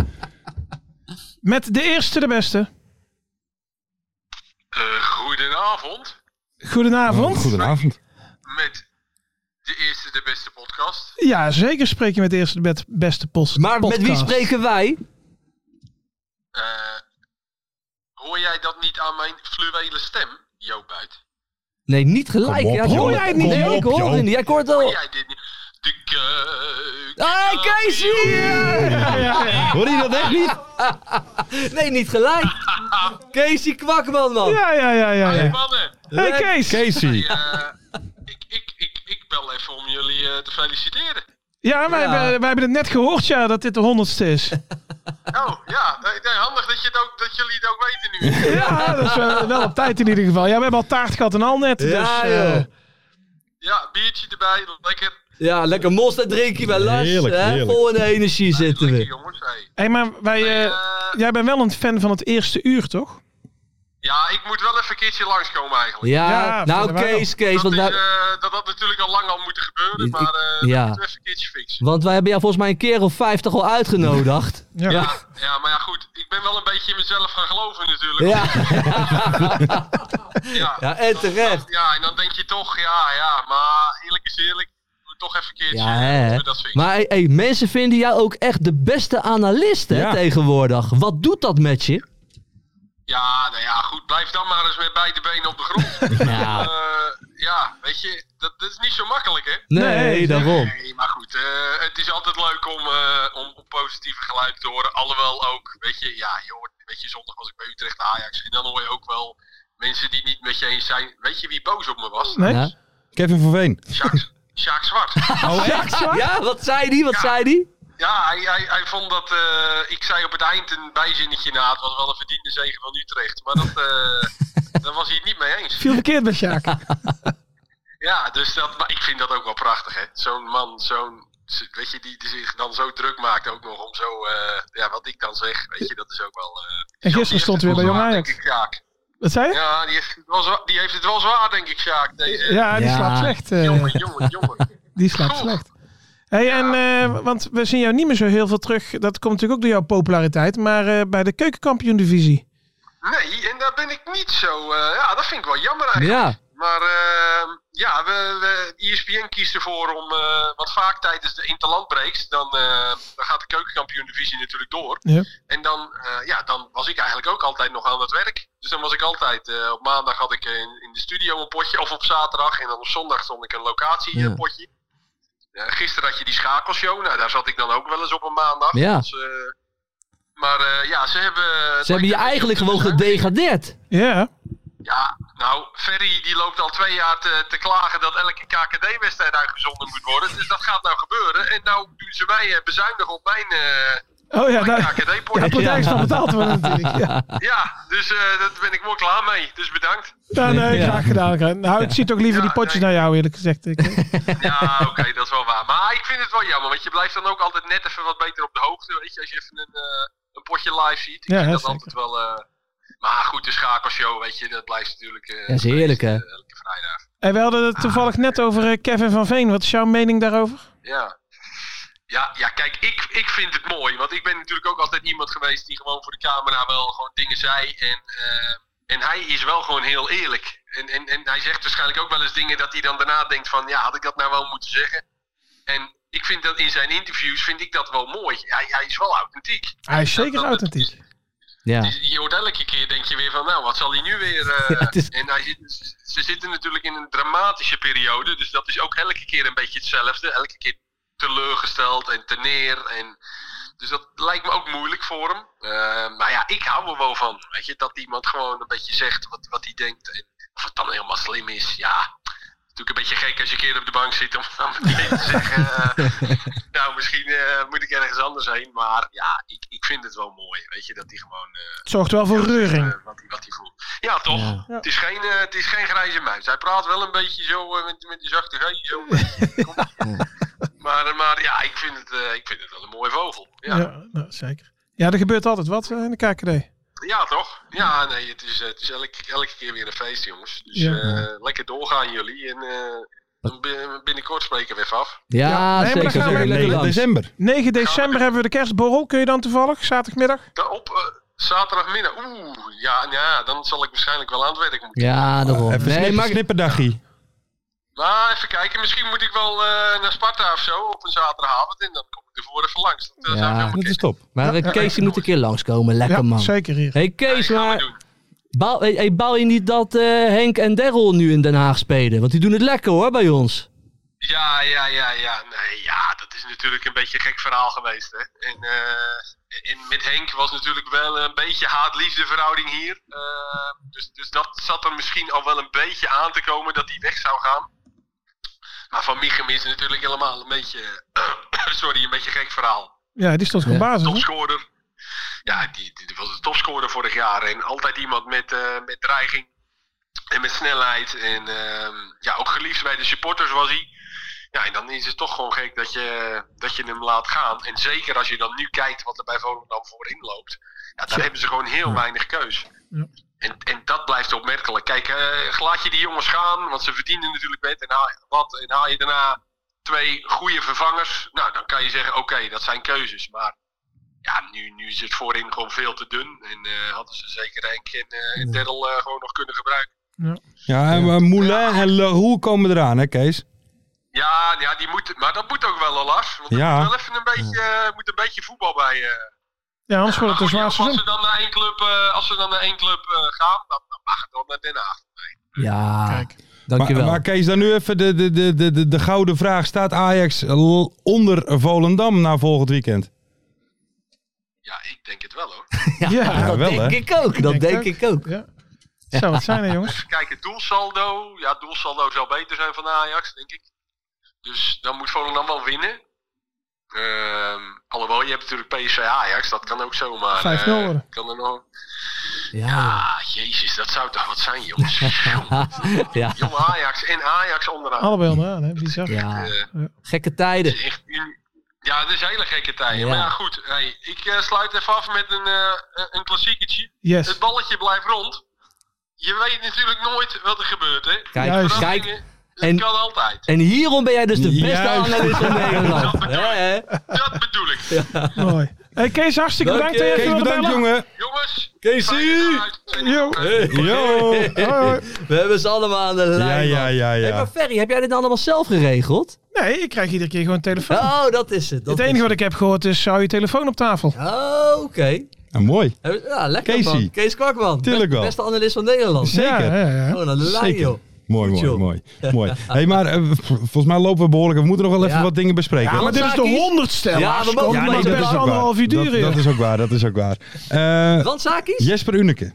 Met de eerste de beste. Eh, goedenavond. Goedenavond. oh, Goedenavond. Met de eerste, de beste podcast. Ja, zeker spreek je met de eerste bet- beste post. Maar met wie podcast. spreken wij? Eh, hoor jij dat niet aan mijn fluwele stem, Joop Buit? Nee, niet gelijk. Kom op, ja, joh. hoor jij het niet? Kom Nee, op, ik hoor joh. het niet. Jij hoort Hoor al. jij dit niet? De keuken. Oh. Hey, Casey! Hoor je dat echt niet? Nee, niet gelijk. Casey Kwakman, man. Ja, ja, ja, ja. Hey, ja. mannen. Hey Kees. Casey. Eh, ik, ik, ik, ik bel even om jullie eh, te feliciteren. Ja, wij, Ja. Hebben, wij hebben het net gehoord, ja, dat dit de honderdste is. Oh, ja. eh, nee, handig dat, je het ook, dat jullie het ook weten nu. Ja, dat is wel, wel op tijd in ieder geval. Ja, we hebben al taart gehad en al net. Ja, dus, eh, joh. Ja, biertje erbij. Lekker. Ja, lekker monster drinken bij Lars. Heerlijk, hè? heerlijk. Vol in de energie zitten Lekker, we. jongens. Hey. hey, maar wij, eh, Eh, jij bent wel een fan van het eerste uur, toch? ja, ik moet wel even een keertje langskomen eigenlijk. Ja, Ja, nou vinden wij Kees, Kees, Dat, want is, wij, eh, dat had natuurlijk al lang al moeten gebeuren, Ik- maar eh ja. dat moeten we even een keertje fixen. want wij hebben jou volgens mij een keer of vijftig al uitgenodigd. Ja. ja. Ja, maar ja, goed. Ik ben wel een beetje in mezelf gaan geloven natuurlijk. Ja. ja. Ja, en terecht. Ja, en dan denk je toch, ja, ja. Maar eerlijk is eerlijk. Doe toch even een keertje. Ja, hè. eh, dat fixen. Maar hey, hey, mensen vinden jou ook echt de beste analist hè, Ja. tegenwoordig. Wat doet dat met je? Ja, nou ja, goed. Blijf dan maar eens met beide benen op de grond. Nou, Eh, ja, weet je, dat, dat is niet zo makkelijk, hè? nee, nee, daarom. Nee, maar goed, eh, het is altijd leuk om, eh, om, om positieve geluiden te horen. Alhoewel ook, weet je, ja, je hoort, weet je, zondag was ik bij Utrecht Ajax. En dan hoor je ook wel mensen die het niet met je eens zijn. Weet je wie boos op me was? Nee? Ja. Kevin van Veen. Sjaak, Sjaak Zwart. Oh, ja, wat zei die? Wat zei die? Ja, hij, hij, hij vond dat, eh, ik zei op het eind een bijzinnetje na, het was wel een verdiende zegen van Utrecht. Maar dat, eh, daar was hij het niet mee eens. Viel verkeerd met Sjaak. Ja, dus dat, maar ik vind dat ook wel prachtig, hè. Zo'n man, zo'n, weet je, die, die zich dan zo druk maakt ook nog om zo, eh, ja, wat ik dan zeg, weet je, dat is ook wel... eh, En gisteren stond hij weer bij Jong denk Ajax. ik, Sjaak. Wat zei je? Ja, die heeft, het wel zwa- die heeft het wel zwaar, denk ik, Sjaak. Deze, Ja, die Ja. slaapt slecht. eh, Jongen, jongen, jongen. die slaapt slecht. Hey, en, eh, want we zien jou niet meer zo heel veel terug. Dat komt natuurlijk ook door jouw populariteit. Maar eh, bij de keukenkampioen-divisie. Nee, en daar ben ik niet zo, eh, ja, dat vind ik wel jammer eigenlijk. Ja, Maar ehm, ja, we, we, E ESPN kiest ervoor om, eh want vaak tijdens de interlandbreaks, dan, eh, dan gaat de keukenkampioen divisie natuurlijk door. Ja. En dan, eh, ja, dan was ik eigenlijk ook altijd nog aan het werk. Dus dan was ik altijd, eh, op maandag had ik in, in de studio een potje, of op zaterdag. En dan op zondag stond ik een locatie Ja. eh, potje. Eh, gisteren had je die schakelshow, nou daar zat ik dan ook wel eens op een maandag. Ja. Dus, eh, maar eh, ja, ze hebben... dus- ze hebben je eigenlijk gewoon gedegradeerd. Ja. Ja, nou, Ferry die loopt al twee jaar te, te klagen dat elke KKD-wedstrijd uitgezonden moet worden. Dus dat gaat nou gebeuren. En nou doen ze mij eh, bezuinigen op mijn, eh, Oh ja, mijn daar, daar KKD-potje. moet Ja, ergens van betaald worden natuurlijk. Ja. dus eh daar ben ik wel klaar mee. Dus bedankt. Ja, nee, Ja. graag gedaan. Graag. Nou, ik zie toch liever die Ja, potjes nee. naar jou, eerlijk gezegd. Ik- eh. Ja, oké, dat is wel waar. Maar ik vind het wel jammer, want je blijft dan ook altijd net even wat beter op de hoogte. Weet je, als je even een, eh, een potje live ziet. Ik Ja, vind hè, dat zeker. altijd wel... eh, maar goed, de schakelshow, weet je, dat blijft natuurlijk... eh, Ja, is heerlijk, hè? eh, elke vrijdag. En we hadden Ah. het toevallig net over eh, Kevin van Veen. Wat is jouw mening daarover? Ja. Ja, ja kijk, ik, ik vind het mooi. Want ik ben natuurlijk ook altijd iemand geweest die gewoon voor de camera wel gewoon dingen zei. En, eh, en hij is wel gewoon heel eerlijk. En, en, en hij zegt waarschijnlijk ook wel eens dingen dat hij dan daarna denkt van... Ja, had ik dat nou wel moeten zeggen? En ik vind dat in zijn interviews vind ik dat wel mooi. Hij, hij is wel authentiek. Hij is Dat- zeker dat- authentiek. Ja. je- Je hoort elke keer, denk je weer van, nou, wat zal hij nu weer... eh, Ja, het is- En hij zit, dus- ze zitten natuurlijk in een dramatische periode, dus dat is ook elke keer een beetje hetzelfde. Elke keer teleurgesteld en teneer. En, dus dat lijkt me ook moeilijk voor hem. Eh, maar ja, ik hou er wel van. Weet je, dat iemand gewoon een beetje zegt wat, wat hij denkt. En of het dan helemaal slim is, ja... Natuurlijk een beetje gek als je een keer op de bank zit om dan meteen te zeggen... eh, nou, misschien eh, moet ik ergens anders heen. Maar ja, ik, ik vind het wel mooi. Weet je, dat hij gewoon... eh, Het zorgt wel voor reuring. eh, wat, hij- wat hij voelt. Ja, toch? Het, is geen, eh, het is geen grijze muis. Hij praat wel een beetje zo eh, met, met die zachte G. Zo een beetje. Kom op. maar, eh, maar ja, ik vind, het, eh, ik vind het wel een mooie vogel. Ja, Ja, ja. nou, zeker. Ja, er gebeurt altijd wat eh, in de KKD. toch? Ja, nee, het is, eh, het is elke, elke keer weer een feest, jongens. Dus Ja. eh, lekker doorgaan jullie. En eh, dan bin- binnenkort spreken we even af. Ja, Ja, nee, maar dan zeker. gaan we zeker lekker langs. december. 9 december hebben we de kerstborrel. Kun je dan toevallig, zaterdagmiddag? Da- Op, eh, Zaterdagmiddag. Oeh, ja, ja, dan zal ik waarschijnlijk wel aan het werk moeten. Ja, daarom. Even nee, snippen, maar snipperdaggie. Nou, even kijken. Misschien moet ik wel eh, naar Sparta of zo op een zaterdagavond. En dan kom ik ervoor even langs. Dat, eh, Ja, zou ik helemaal Dat is kennen. top. maar eh, Kees die moet een keer langskomen. Lekker Ja, man. zeker hier. hey Kees, Ik ga het maar doen. baal, hey, hey, baal je niet dat eh, Henk en Daryl nu in Den Haag spelen? Want die doen het lekker hoor bij ons. Ja, ja, ja, ja. Nee, ja, dat is natuurlijk een beetje een gek verhaal geweest. Hè. En, eh, en met Henk was natuurlijk wel een beetje haat-liefde verhouding hier. Eh, dus, dus dat zat er misschien al wel een beetje aan te komen dat hij weg zou gaan. Maar van Michem is natuurlijk helemaal een beetje, sorry, een beetje een gek verhaal. Ja, die stond gewoon Ja. basis. hè? topscorer. Ja, die, die was de topscorer vorig jaar. En altijd iemand met, eh, met dreiging en met snelheid. En ehm, ja, ook geliefd bij de supporters was hij. Ja, en dan is het toch gewoon gek dat je, dat je hem laat gaan. En zeker als je dan nu kijkt wat er bij Volendam voorin loopt. Ja, dan hebben ze gewoon heel weinig keus. Ja. En, en dat blijft opmerkelijk. Kijk, eh laat je die jongens gaan, want ze verdienen natuurlijk met. En haal, wat, en haal je daarna twee goede vervangers. Nou, dan kan je zeggen, oké, dat zijn keuzes. Maar ja, nu, nu is het voorin gewoon veel te dun. En eh, hadden ze zeker Henk en, eh en Daryl, eh, gewoon nog kunnen gebruiken. Ja, en eh, Moulin Ah. en Leroux komen eraan, hè Kees? Ja, ja die moet, maar dat moet ook wel, Lars. Want er Ja. moet wel even een beetje, eh, moet een beetje voetbal bij. eh. Ja, anders wordt het een Maar goed, zwaar als seizoen. ze dan naar één club, eh, als ze dan naar één club eh, gaan, dan, dan mag het dan naar Den Haag. Ja, Kijk. dankjewel. Maar, maar Kees, dan nu even de, de, de, de, de, de gouden vraag. Staat Ajax l- onder Volendam na volgend weekend? Ja, ik denk het wel hoor. ja, Ja, dat wel, denk hè? ik ook. Dat Ik denk denk ik ook. Ja. Zou het zijn, hè, jongens? Even kijken, doelsaldo. Ja, doelsaldo zou beter zijn van Ajax, denk ik. Dus dan moet Volendam wel winnen. Ehm, alhoewel, je hebt natuurlijk PSV Ajax, dat kan ook zomaar. 5-0 eh, worden. kan er nog... Ja. Ah, jezus, dat zou toch wat zijn, jongens. Jong, Ja. jong Ajax en Ajax onderaan. Oh, Allebei onderaan, hè? Bizar. ja. Eh, Gekke tijden. het is echt un- ja, dat is hele gekke tijden. Ja. Maar ja, goed. Hey, ik eh, sluit even af met een, eh een klassieketje. Yes. Het balletje blijft rond. Je weet natuurlijk nooit wat er gebeurt, hè? Kijk, Juist. kijk. Verrassingen, dat en- kan altijd. En hierom ben jij dus de beste Juist. analist van Nederland. Hè, hè? Dat bedoel ik. Mooi. Hey, Kees, hartstikke Dank je. bedankt dat je Kees, even wilde bedankt jongen. bellen. Jongens, Casey! Yo. Yo. Hoi. We hebben ze allemaal aan de lijn. Ja, ja, man. ja, Hey, ja. maar Ferry, heb jij dit allemaal zelf geregeld? Nee, ik krijg iedere keer gewoon een telefoon. Oh, dat is het. Dat het enige is wat ik heb gehoord is, hou je telefoon op tafel. het. Oh, oké. Ah, mooi. Heb- Ja, lekker Casey. man. Kees Kwakman. Tuurlijk wel. Beste analist van Nederland. Oh, Zeker. Ja, ja, ja. Gewoon aan de lijn, Zeker. joh. Mooi, Goed, mooi, joh. mooi. mooi. hey, maar eh, v- volgens mij lopen we behoorlijk. We moeten nog wel even Ja. wat dingen bespreken. Ja, maar dit is de Zakies? honderdste. Ja, Lars. we mogen Kom, maar dat nee, is dat best is ook anderhalf uur dat, duren. dat joh. is ook waar, dat is ook waar. Eh, Randzakies? Jesper Uneke.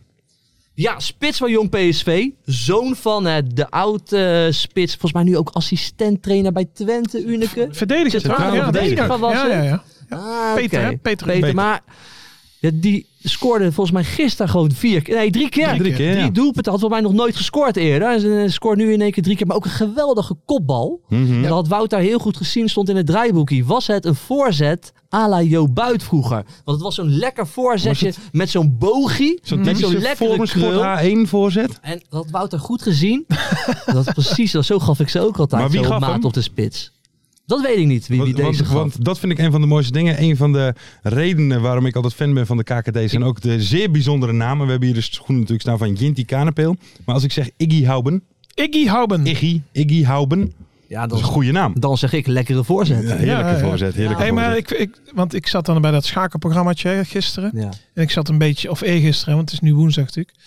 Ja, spits van Jong PSV. Zoon van eh, de oud eh, spits. Volgens mij nu ook assistent-trainer bij Twente, Unike. Verdediger, Centrale toch? Ja, verdediger. zeker. Was Ja, ja, ja. Ah, Peter, oké. hè? Peter. Peter. Maar ja, die scoorde volgens mij gisteren gewoon vier keer. Nee, drie keer. Drie keer, ja. Die doelpunten had volgens mij nog nooit gescoord eerder. En ze eh, scoort nu in één keer drie keer. Maar ook een geweldige kopbal. Mhm. En dat had Wout daar heel goed gezien. Stond in het draaiboekje. Was het een voorzet à la Jo Buit vroeger? Want het was zo'n lekker voorzetje met zo'n bogie. Zo'n met zo'n typische lekkere Formersport krul. A1 voorzet. En dat had Wouter goed gezien. dat precies, dat, zo gaf ik ze ook altijd. Maar wie zo op gaf maat hem? op de spits. Dat weet ik niet, wie, wie Want, deze want, gaf. want dat vind ik een van de mooiste dingen. Een van de redenen waarom ik altijd fan ben van de KKD zijn ook de zeer bijzondere namen. We hebben hier de schoenen natuurlijk staan van Jinty Kanepeel. Maar als ik zeg Iggy Houben, Iggy Houben. Iggy, Iggy Houben, ja, dat dan, is een goede naam. dan zeg ik lekkere voorzet. Ja, heerlijke Ja, ja, ja. voorzet, heerlijke Hey, maar voorzet. ik, ik, want ik zat dan bij dat schakelprogrammaatje hè, gisteren. Ja. En ik zat een beetje, of eergisteren, want het is nu woensdag natuurlijk.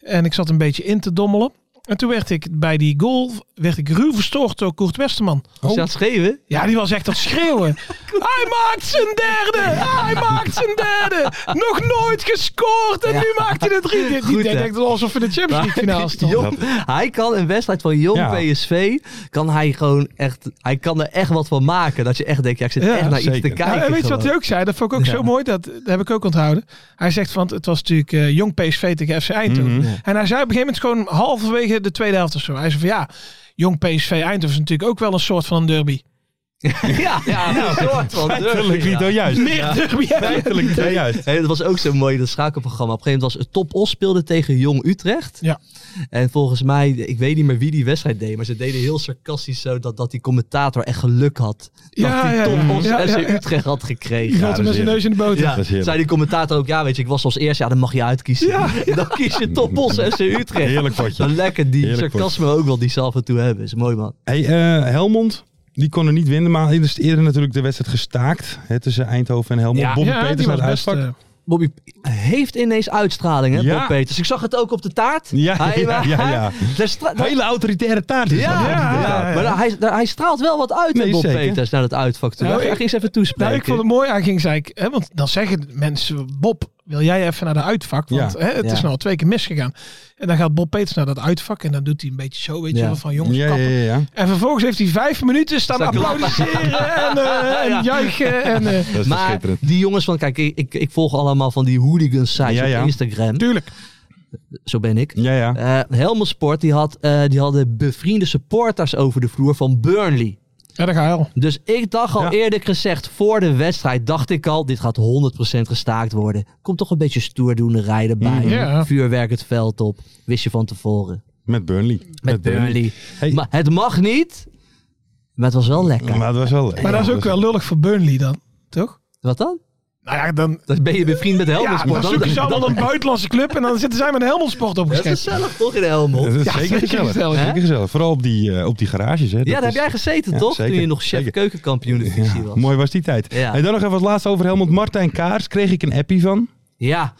En ik zat een beetje in te dommelen. En toen werd ik bij die goal werd ik ruw verstoord door Koert Westerman. Is dat schreeuwen? Ja, die was echt aan het schreeuwen. Hij maakt zijn derde! Hij maakt zijn derde! Nog nooit gescoord! En nu maakt hij de drie keer. Die Goed, hè? denkt alsof we in de Champions League finale stonden. Jong- hij kan een wedstrijd van Jong Ja. PSV, kan hij gewoon echt, hij kan er echt wat van maken. Dat je echt denkt, ja, ik zit Ja, echt naar iets zeker. te Ja, kijken. en weet je wat gewoon. hij ook zei? Dat vond ik ook Ja. zo mooi. Dat, dat heb ik ook onthouden. Hij zegt, want het was natuurlijk eh, jong PSV tegen FC Eindhoven. Mhm. En hij zei op een gegeven moment gewoon halverwege de tweede helft of zo. Hij zei van ja, jong PSV Eindhoven is natuurlijk ook wel een soort van een derby. ja, ja, een soort van. Feitelijk durven, niet ja. juist. Meer derby hebben. Feitelijk niet juist. Nee, dat was ook zo mooi, dat schakelprogramma. Op een gegeven moment was het Top Os speelde tegen Jong Utrecht. Ja. En volgens mij, ik weet niet meer wie die wedstrijd deed, maar ze deden heel sarcastisch zo dat, dat die commentator echt geluk had. Dat Ja, die ja, Top ja. Os Ja, ja, FC ja. Utrecht had gekregen. Die gaat hem met zijn neus in de boter. Ja, Dat is heerlijk. zei die commentator ook, ja weet je, ik was als eerste, ja dan mag je uitkiezen. En dan kies je Top Os FC Utrecht. Heerlijk potje. Dan lekker die Heerlijk sarcasme ook wel die ze af en toe hebben. Is mooi man. Hey, eh, Helmond, die kon er niet winnen, maar er is eerder natuurlijk de wedstrijd gestaakt hè, tussen Eindhoven en Helmond. Ja. Bobby Ja, die Peters was uit het best, uitvak. eh, Bobby heeft ineens uitstraling hè, Ja. Bob Peters. Ik zag het ook op de taart. Ja, Hij- ja, ja, ja. Daar stra- daar- Hele autoritaire taart. is eh, Ja, dat, hè? ja, Die ja, taart. ja. Maar daar- hij, daar- hij straalt wel wat uit, Nee, nee, Bob zeker. Peters, naar dat uitvak toe. Nou, hij ik- ging eens even toespreken. Nou, ik vond het mooi aan ging, zei ik, hè, want dan zeggen mensen, Bob, wil jij even naar de uitvak? Want Ja. hè, het is Ja. nou al twee keer misgegaan. En dan gaat Bob Peters naar dat uitvak en dan doet hij een beetje zo, weet je Ja. wel, van jongens, Ja, ja, kappen. ja, ja. En vervolgens heeft hij vijf minuten staan Staan klappen. applaudisseren en, eh, en Ja. juichen. En, eh, Dat is maar schitterend. die jongens van, kijk, ik, ik, ik volg allemaal van die hooligan sites Ja, ja. op Instagram. tuurlijk. Zo ben ik. Ja, ja. Eh Helmond Sport, die, had, eh, die hadden bevriende supporters over de vloer van Burnley. Ja, daar ga je al. Dus ik dacht al Ja. eerder gezegd, voor de wedstrijd dacht ik al, dit gaat 100% gestaakt worden. Komt toch een beetje stoerdoenerij erbij. Mhm. Ja. Vuurwerk het veld op. Wist je van tevoren. Met Burnley. Met Burnley. Hey. Maar het mag niet. Maar het was wel lekker. Maar dat was wel... Maar dat is ook wel lullig voor Burnley dan, toch? Wat dan? Nou ja, dan, Dan ben je bevriend met Helmond ja, Sport. dan zoeken ze allemaal een buitenlandse club en dan zitten zij met een Helmondsport Dat is opgeschreven. gezellig toch in Helmond? Dat is Ja, zeker zeker gezellig. gezellig, hè? Zeker gezellig. Vooral op die, eh, op die garages. Hè. Dat Ja, daar is- heb jij gezeten Ja, toch? zeker, Toen je nog chef zeker. keukenkampioen divisie was. Mooi was die tijd. Ja. En dan nog even wat laatste over Helmond. Martijn Kaars kreeg ik een appie van. Ja.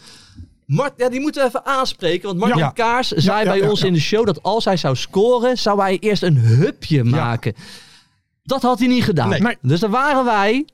Mart, ja, die moeten we even aanspreken. Want Martin Ja. Kaars zei ja, bij ja, ons ja. in de show dat als hij zou scoren, zou hij eerst een hupje maken. Dat had hij niet gedaan. Nee. Nee. Dus daar waren wij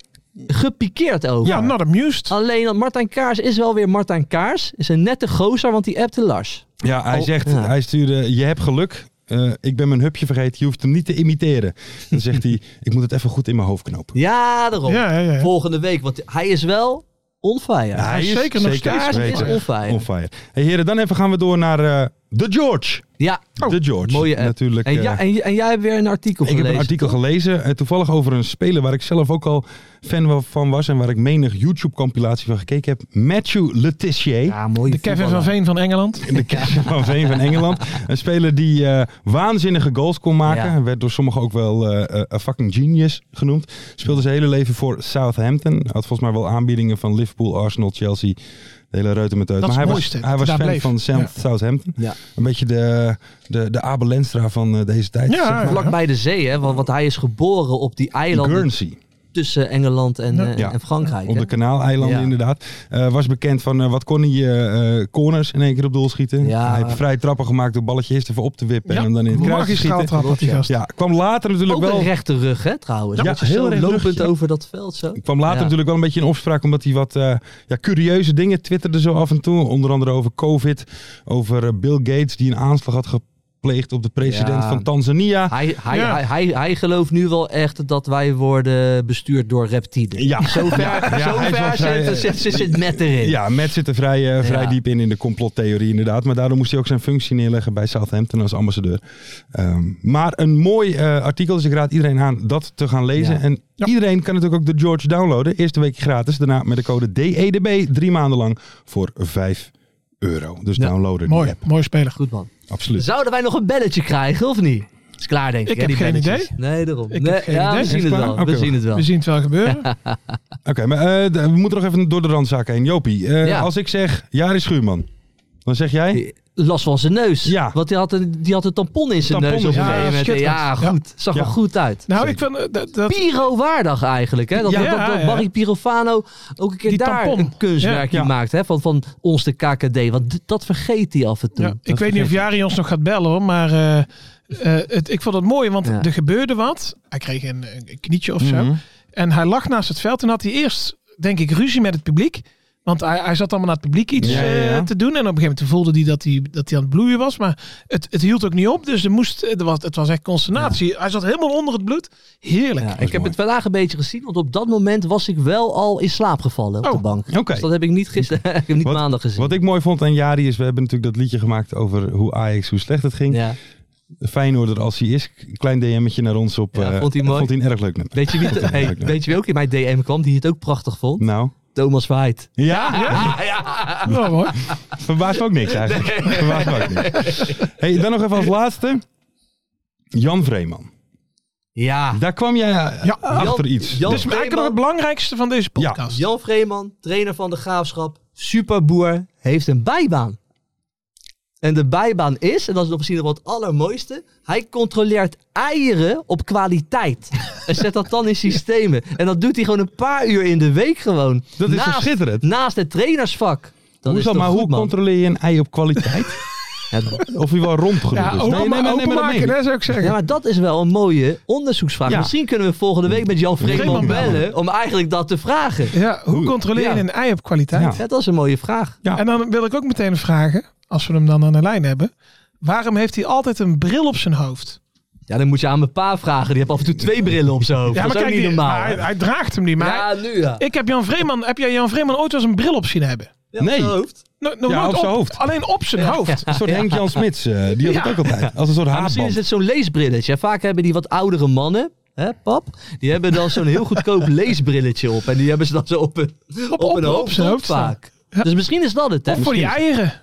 gepikeerd over. Ja, not amused. Alleen dat Martijn Kaars is wel weer Martijn Kaars. Is een nette gozer, want die appte Lars. Ja, hij Oh, zegt, ja. hij stuurde, je hebt geluk. Eh, ik ben mijn hupje vergeten, je hoeft hem niet te imiteren. Dan zegt hij, ik moet het even goed in mijn hoofd knopen. Ja, daarom. Ja, ja, ja. Volgende week, want hij is wel on fire. Ja, is zeker nog steeds Kaars is beter. on fire. On fire. Hey heren, dan even gaan we door naar eh The George. Ja, The Oh. George. mooie app. Natuurlijk. En, eh, ja, en, en jij hebt weer een artikel ik heb gelezen. een artikel gelezen, eh, toevallig over een speler waar ik zelf ook al fan wa- van was en waar ik menig YouTube-compilatie van gekeken heb. Matthew Letitia. Ja, mooi. De Kevin van voetballer. Veen van Engeland. In de kerst van Veen van Engeland. Een speler die eh, waanzinnige goals kon maken. Ja. Werd door sommigen ook wel eh, eh, een fucking genius genoemd. Speelde zijn hele leven voor Southampton. Had volgens mij wel aanbiedingen van Liverpool, Arsenal, Chelsea. De hele reuter met uit. Dat is Maar hij het was, mooiste, hij was daar fan bleef. van Sam- Ja. Southampton. Ja. Een beetje de, de, de Abel Lenstra van eh, deze tijd. Ja, zeg maar. Vlak bij de zee, hè? Want, want hij is geboren op die eilanden Guernsey. tussen Engeland en, eh, Ja. en Frankrijk. Op hè? de Kanaaleilanden Ja. inderdaad. Eh, was bekend van eh, wat kon hij eh, eh, corners in één keer op doel schieten. Ja. Hij heeft vrij trappen gemaakt door balletje eerst even op te wippen en Ja, hem dan in het kruis te magistraal schieten. trap had die gast. Ja, kwam later natuurlijk Ook een wel. rechte rug, hè, trouwens. Ja, Dat je heel zo rechte lopend rug, ja. over dat veld zo. Kwam later Ja. natuurlijk wel een beetje in opspraak omdat hij wat eh, ja, curieuze dingen twitterde zo af en toe. Onder andere over COVID, over eh, Bill Gates die een aanslag had gepleegd op de president Ja. van Tanzania. Hij, hij, Ja. hij, hij, hij gelooft nu wel echt dat wij worden bestuurd door reptielen. Ja, Zo ver, zo hij is wel ver vrij, zit, eh, zit, zit, zit met erin. Ja, Matt zit er vrij, eh, vrij Ja. diep in in de complottheorie inderdaad. Maar daardoor moest hij ook zijn functie neerleggen bij Southampton als ambassadeur. Ehm, maar een mooi eh, artikel, dus ik raad iedereen aan dat te gaan lezen. Ja. En iedereen kan natuurlijk ook de George downloaden. Eerste week gratis, daarna met de code DEDB drie maanden lang voor 5 euro. Dus Ja, downloaden die Mooi, app, mooi speler. Goed man. absoluut. Zouden wij nog een belletje krijgen of niet? Is klaar denk ik. Ik hè, heb die geen belletjes. Nee, daarom. Ik Nee, heb geen ja, idee. we zien Is het het wel. klaar? Oké, we zien het wel. We zien het wel gebeuren. Oké, maar eh, d- we moeten nog even door de randzaak heen. Jopie, eh, Ja. als ik zeg Jari Schuurman, dan zeg jij... Last van zijn neus. Ja. Want die had, een, die had een tampon in zijn Tampon neus. in Op zijn een neus. gegeven moment. Ja, ja, schitterend. goed. Zag er Ja. goed uit. Nou, ik vind eh, dat, dat, Piro-waardig eigenlijk. Hè? Dat, Ja, dat, dat, ja. Barry Pirofano ook een keer Die daar tampon. een kunstwerkje Ja, ja. maakt. Hè? Van, van ons de KKD. Want d- dat vergeet hij af en toe. Ja, ik weet niet of Jari ons nog gaat bellen hoor, maar eh, eh, het, ik vond het mooi, want Ja. er gebeurde wat. Hij kreeg een, een knietje of zo. Mhm. En hij lag naast het veld. Toen had hij eerst, denk ik, ruzie met het publiek. Want hij, hij zat allemaal naar het publiek iets Ja, ja, eh, ja. te doen. En op een gegeven moment voelde hij dat hij, dat hij aan het bloeien was. Maar het, het hield ook niet op. Dus er moest, er was, het was echt consternatie. Hij zat helemaal onder het bloed. Heerlijk. Ja, ik heb het vandaag een beetje gezien, want op dat moment was ik wel al in slaap gevallen op Oh, de bank. Oké. Dus dat heb ik niet gisteren, ik heb niet maandag gezien. Wat ik mooi vond aan Jari is, we hebben natuurlijk dat liedje gemaakt over hoe Ajax, hoe slecht het ging. ja. Feyenoorder als hij is. Klein DM'tje naar ons op. Ja, eh, vond hij mooi. Vond hij een erg leuk nummer. Weet je, wie, hey, leuk, leuk. weet je wie ook in mijn DM kwam die het ook prachtig vond? Nou. Thomas White. Ja, Nou, hoor. verbaast me ook niks eigenlijk. Verbaast me ook niks. Hey, dan nog even als laatste. Jan Vreeman. Ja. Daar kwam jij eh, Ja. achter Jan- iets. Dus- Jan Dat is eigenlijk nog het Vreeman, belangrijkste van deze podcast. Jan Vreeman, trainer van de Graafschap, superboer, heeft een bijbaan. En de bijbaan is, en dat is nog misschien wel het allermooiste, hij controleert eieren op kwaliteit. en zet dat dan in systemen. En dat doet hij gewoon een paar uur in de week gewoon. Dat is toch naast, schitterend? naast het trainersvak. Dat Hoezo, is toch maar goed, hoe man? controleer je een ei op kwaliteit? Ja, Of hij wel dus? rond genoeg Ja, is? open, openmaken, meen ik. hè, zou ik zeggen. Ja, maar dat is wel een mooie onderzoeksvraag. Ja. Misschien kunnen we volgende week met Jan Vreeman Vreeman bellen. bellen om eigenlijk dat te vragen. Ja, hoe Hoe- controleer je Ja. een ei op kwaliteit? Ja. Ja, dat is een mooie vraag. Ja. En dan wil ik ook meteen vragen, als we hem dan aan de lijn hebben. Waarom heeft hij altijd een bril op zijn hoofd? Ja, dan moet je aan mijn pa vragen. Die heeft af en toe twee brillen op zijn hoofd. dat is ook niet die- normaal. maar hè? hij, hij draagt hem niet. Maar ja, nu ja. ik heb Jan Vreeman, heb jij Jan Vreeman ooit wel eens een bril op zien hebben? Ja, op Nee. zijn hoofd. No, nog Ja, nooit op zijn hoofd. Alleen op zijn hoofd. Een soort Henk-Jan Smits. eh, die had het ook altijd. Als een soort Maar misschien is haarband. het zo'n leesbrilletje. Vaak hebben die wat oudere mannen, hè, pap, die hebben dan zo'n heel goedkoop leesbrilletje op. En die hebben ze dan zo op een, op, op- een op hoofd, zijn hoofd staan. vaak. Dus misschien is dat het, hè? Voor die eieren.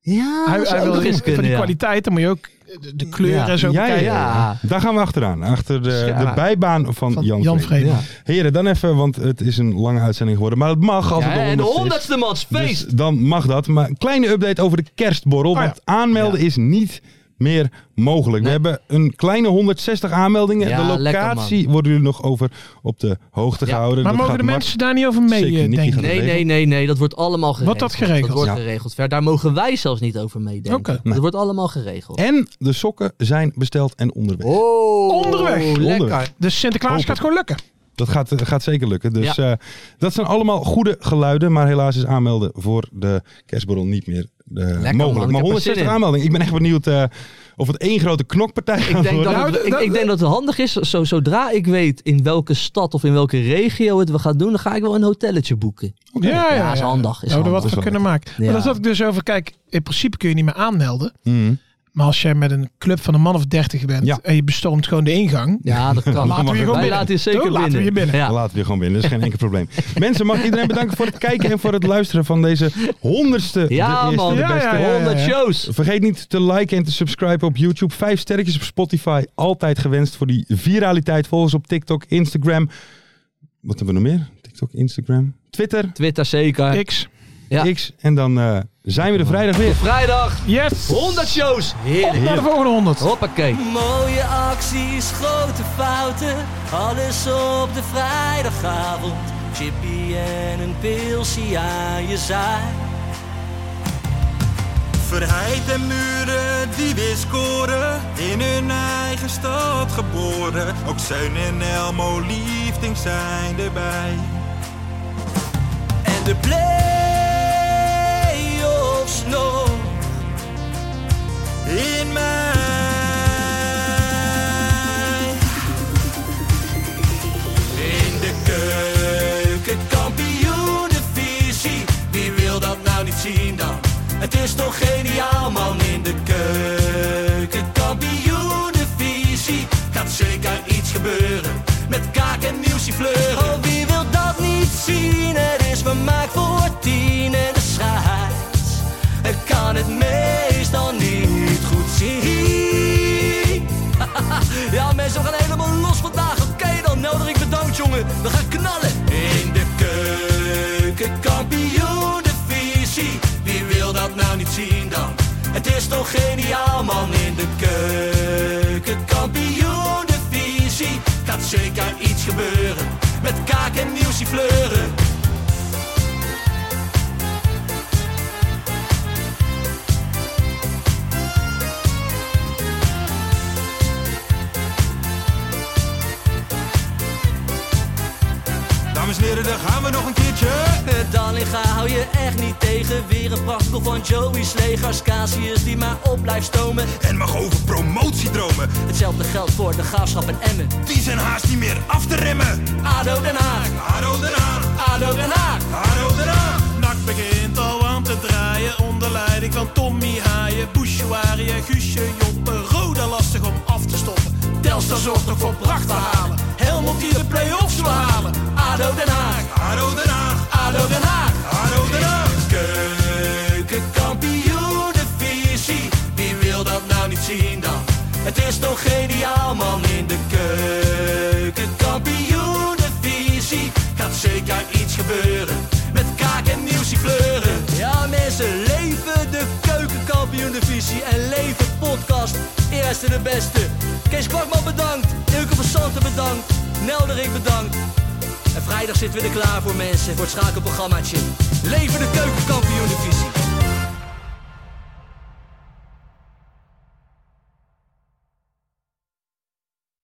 Ja, Hij, dat zou hij ook wil nog eens voor die kunnen, ja. kwaliteit, dan moet je ook de, de kleur Ja. en zo Ja, ja, bekijken. ja. Daar gaan we achteraan. Achter de, Ja. de bijbaan van, Van Jan, Vreeman. Jan Vreeman. Ja. Heren, dan even, want het is een lange uitzending geworden. Maar het mag als Ja, het en de de 100ste is. honderdste match, Dus feest! dan mag dat. Maar een kleine update over de kerstborrel. Oh ja. Want aanmelden is niet meer mogelijk. Nee. We hebben een kleine 160 aanmeldingen. Ja, de lekker, locatie worden jullie nog over op de hoogte Ja. gehouden. Maar Dat mogen de gaat Max- mensen daar niet over mee Zeker, eh, Nicky denken? gaat- Nee, geregeld? nee, nee, nee, dat wordt allemaal geregeld. Wordt dat geregeld? Dat wordt Ja. geregeld. Ver, daar mogen wij zelfs niet over meedenken. Oké. Dat wordt allemaal geregeld. En de sokken zijn besteld en onderweg. Oh, Onderweg. Lekker. Onderweg. Dus Sinterklaas Hopen. gaat gewoon lukken. Dat gaat, gaat zeker lukken. Dus eh, dat zijn allemaal goede geluiden. Maar helaas is aanmelden voor de kerstborrel niet meer eh, man, ik mogelijk. heb Maar er zin 160 in. aanmeldingen. Ik ben echt benieuwd eh, of het één grote knokpartij Ik gaat denk, worden. dat het, Nou, ik, dat- ik denk dat het handig is, zo, zodra ik weet in welke stad of in welke regio het we gaan doen, dan ga ik wel een hotelletje boeken. Ja, ja, is handig, is handig. Zouden we Dus wat Is van wel kunnen maken. Ja. Maar dat had ik dus over. Kijk, in principe kun je niet meer aanmelden. Mhm. Maar als jij met een club van een man of dertig bent Ja. en je bestormt gewoon de ingang. Ja, dat kan. Laten we je gewoon Wij binnen. laten je zeker Doe, binnen. laten we je binnen. Ja. Dan laten we je gewoon binnen. Dat is geen enkel probleem. Mensen, mag ik iedereen bedanken voor het kijken en voor het luisteren van deze honderdste. Ja, de eerste, man. de Ja, beste. ja, ja. 100 shows. Vergeet niet te liken en te subscriben op YouTube. Vijf sterretjes op Spotify. Altijd gewenst voor die viraliteit. Volg ons op TikTok, Instagram. Wat hebben we nog meer? TikTok, Instagram, Twitter, Twitter zeker. X. Ja. X. En dan eh, zijn we er vrijdag weer. Vrijdag, Yes! 100 shows. Op Heerlijk. naar de volgende 100. Hoppakee. Mooie acties, grote fouten, alles op de vrijdagavond. Chippy en een pilsie aan je zaai. Verheid en muren die weer scoren, in hun eigen stad geboren. Ook Zeun en Elmo liefding zijn erbij. En de play-offs nog. In mij. In de keuken, kampioenenvisie. Wie wil dat nou niet zien dan? Het is toch geniaal man in de keuken, kampioenenvisie. Gaat zeker iets gebeuren met kaak en nieuwsje fleuren. Oh, wie wil dat niet zien? Het is vermaakt voor tien en de scheids. Ik kan het meestal niet goed zien. Ja, mensen, we gaan helemaal los vandaag. Oké dan, Nelderik bedankt, jongen. We gaan knallen. In de keuken, kampioen, de visie. Wie wil dat nou niet zien dan? Het is toch geniaal, man. In de keuken, kampioen, de visie. Gaat zeker iets gebeuren. Met kaak en nieuwsie fleuren. Dames en heren, daar gaan we nog een keertje. Dallinga hou je echt niet tegen. Weer een prachtkel van Joey's legers. Casius die maar op blijft stomen. En mag over promotiedromen, Hetzelfde geldt voor de graafschap en Emmen. die zijn haast niet meer af te remmen. ADO Den Haag, Haro eraan, ADO Den Haag. haro eraan. Nak begint al aan te draaien onder leiding van Tommy Haaien, Bouchouari en Guusje Joppe, Roda lastig om af te stoppen. Telstar zorgt nog voor pracht te halen. Helmond die de play-offs wil halen. ADO Den Haag. ADO Den Haag. ADO Den Haag. ADO Den Haag. Keukenkampioenenvisie. Wie wil dat nou niet zien dan? Het is toch geniaal man in de keukenkampioenenvisie. Gaat zeker iets gebeuren. Met kaak en nieuwsie kleuren. Ja mensen, leven de keukenkampioenenvisie. En leven podcast. Eerste de beste. Kees Kwakman bedankt. Ilke van Santen bedankt. Nelderik bedankt. En vrijdag zitten we er klaar voor mensen, voor het schakelprogrammaatje. Leven de keukenkampioen divisie.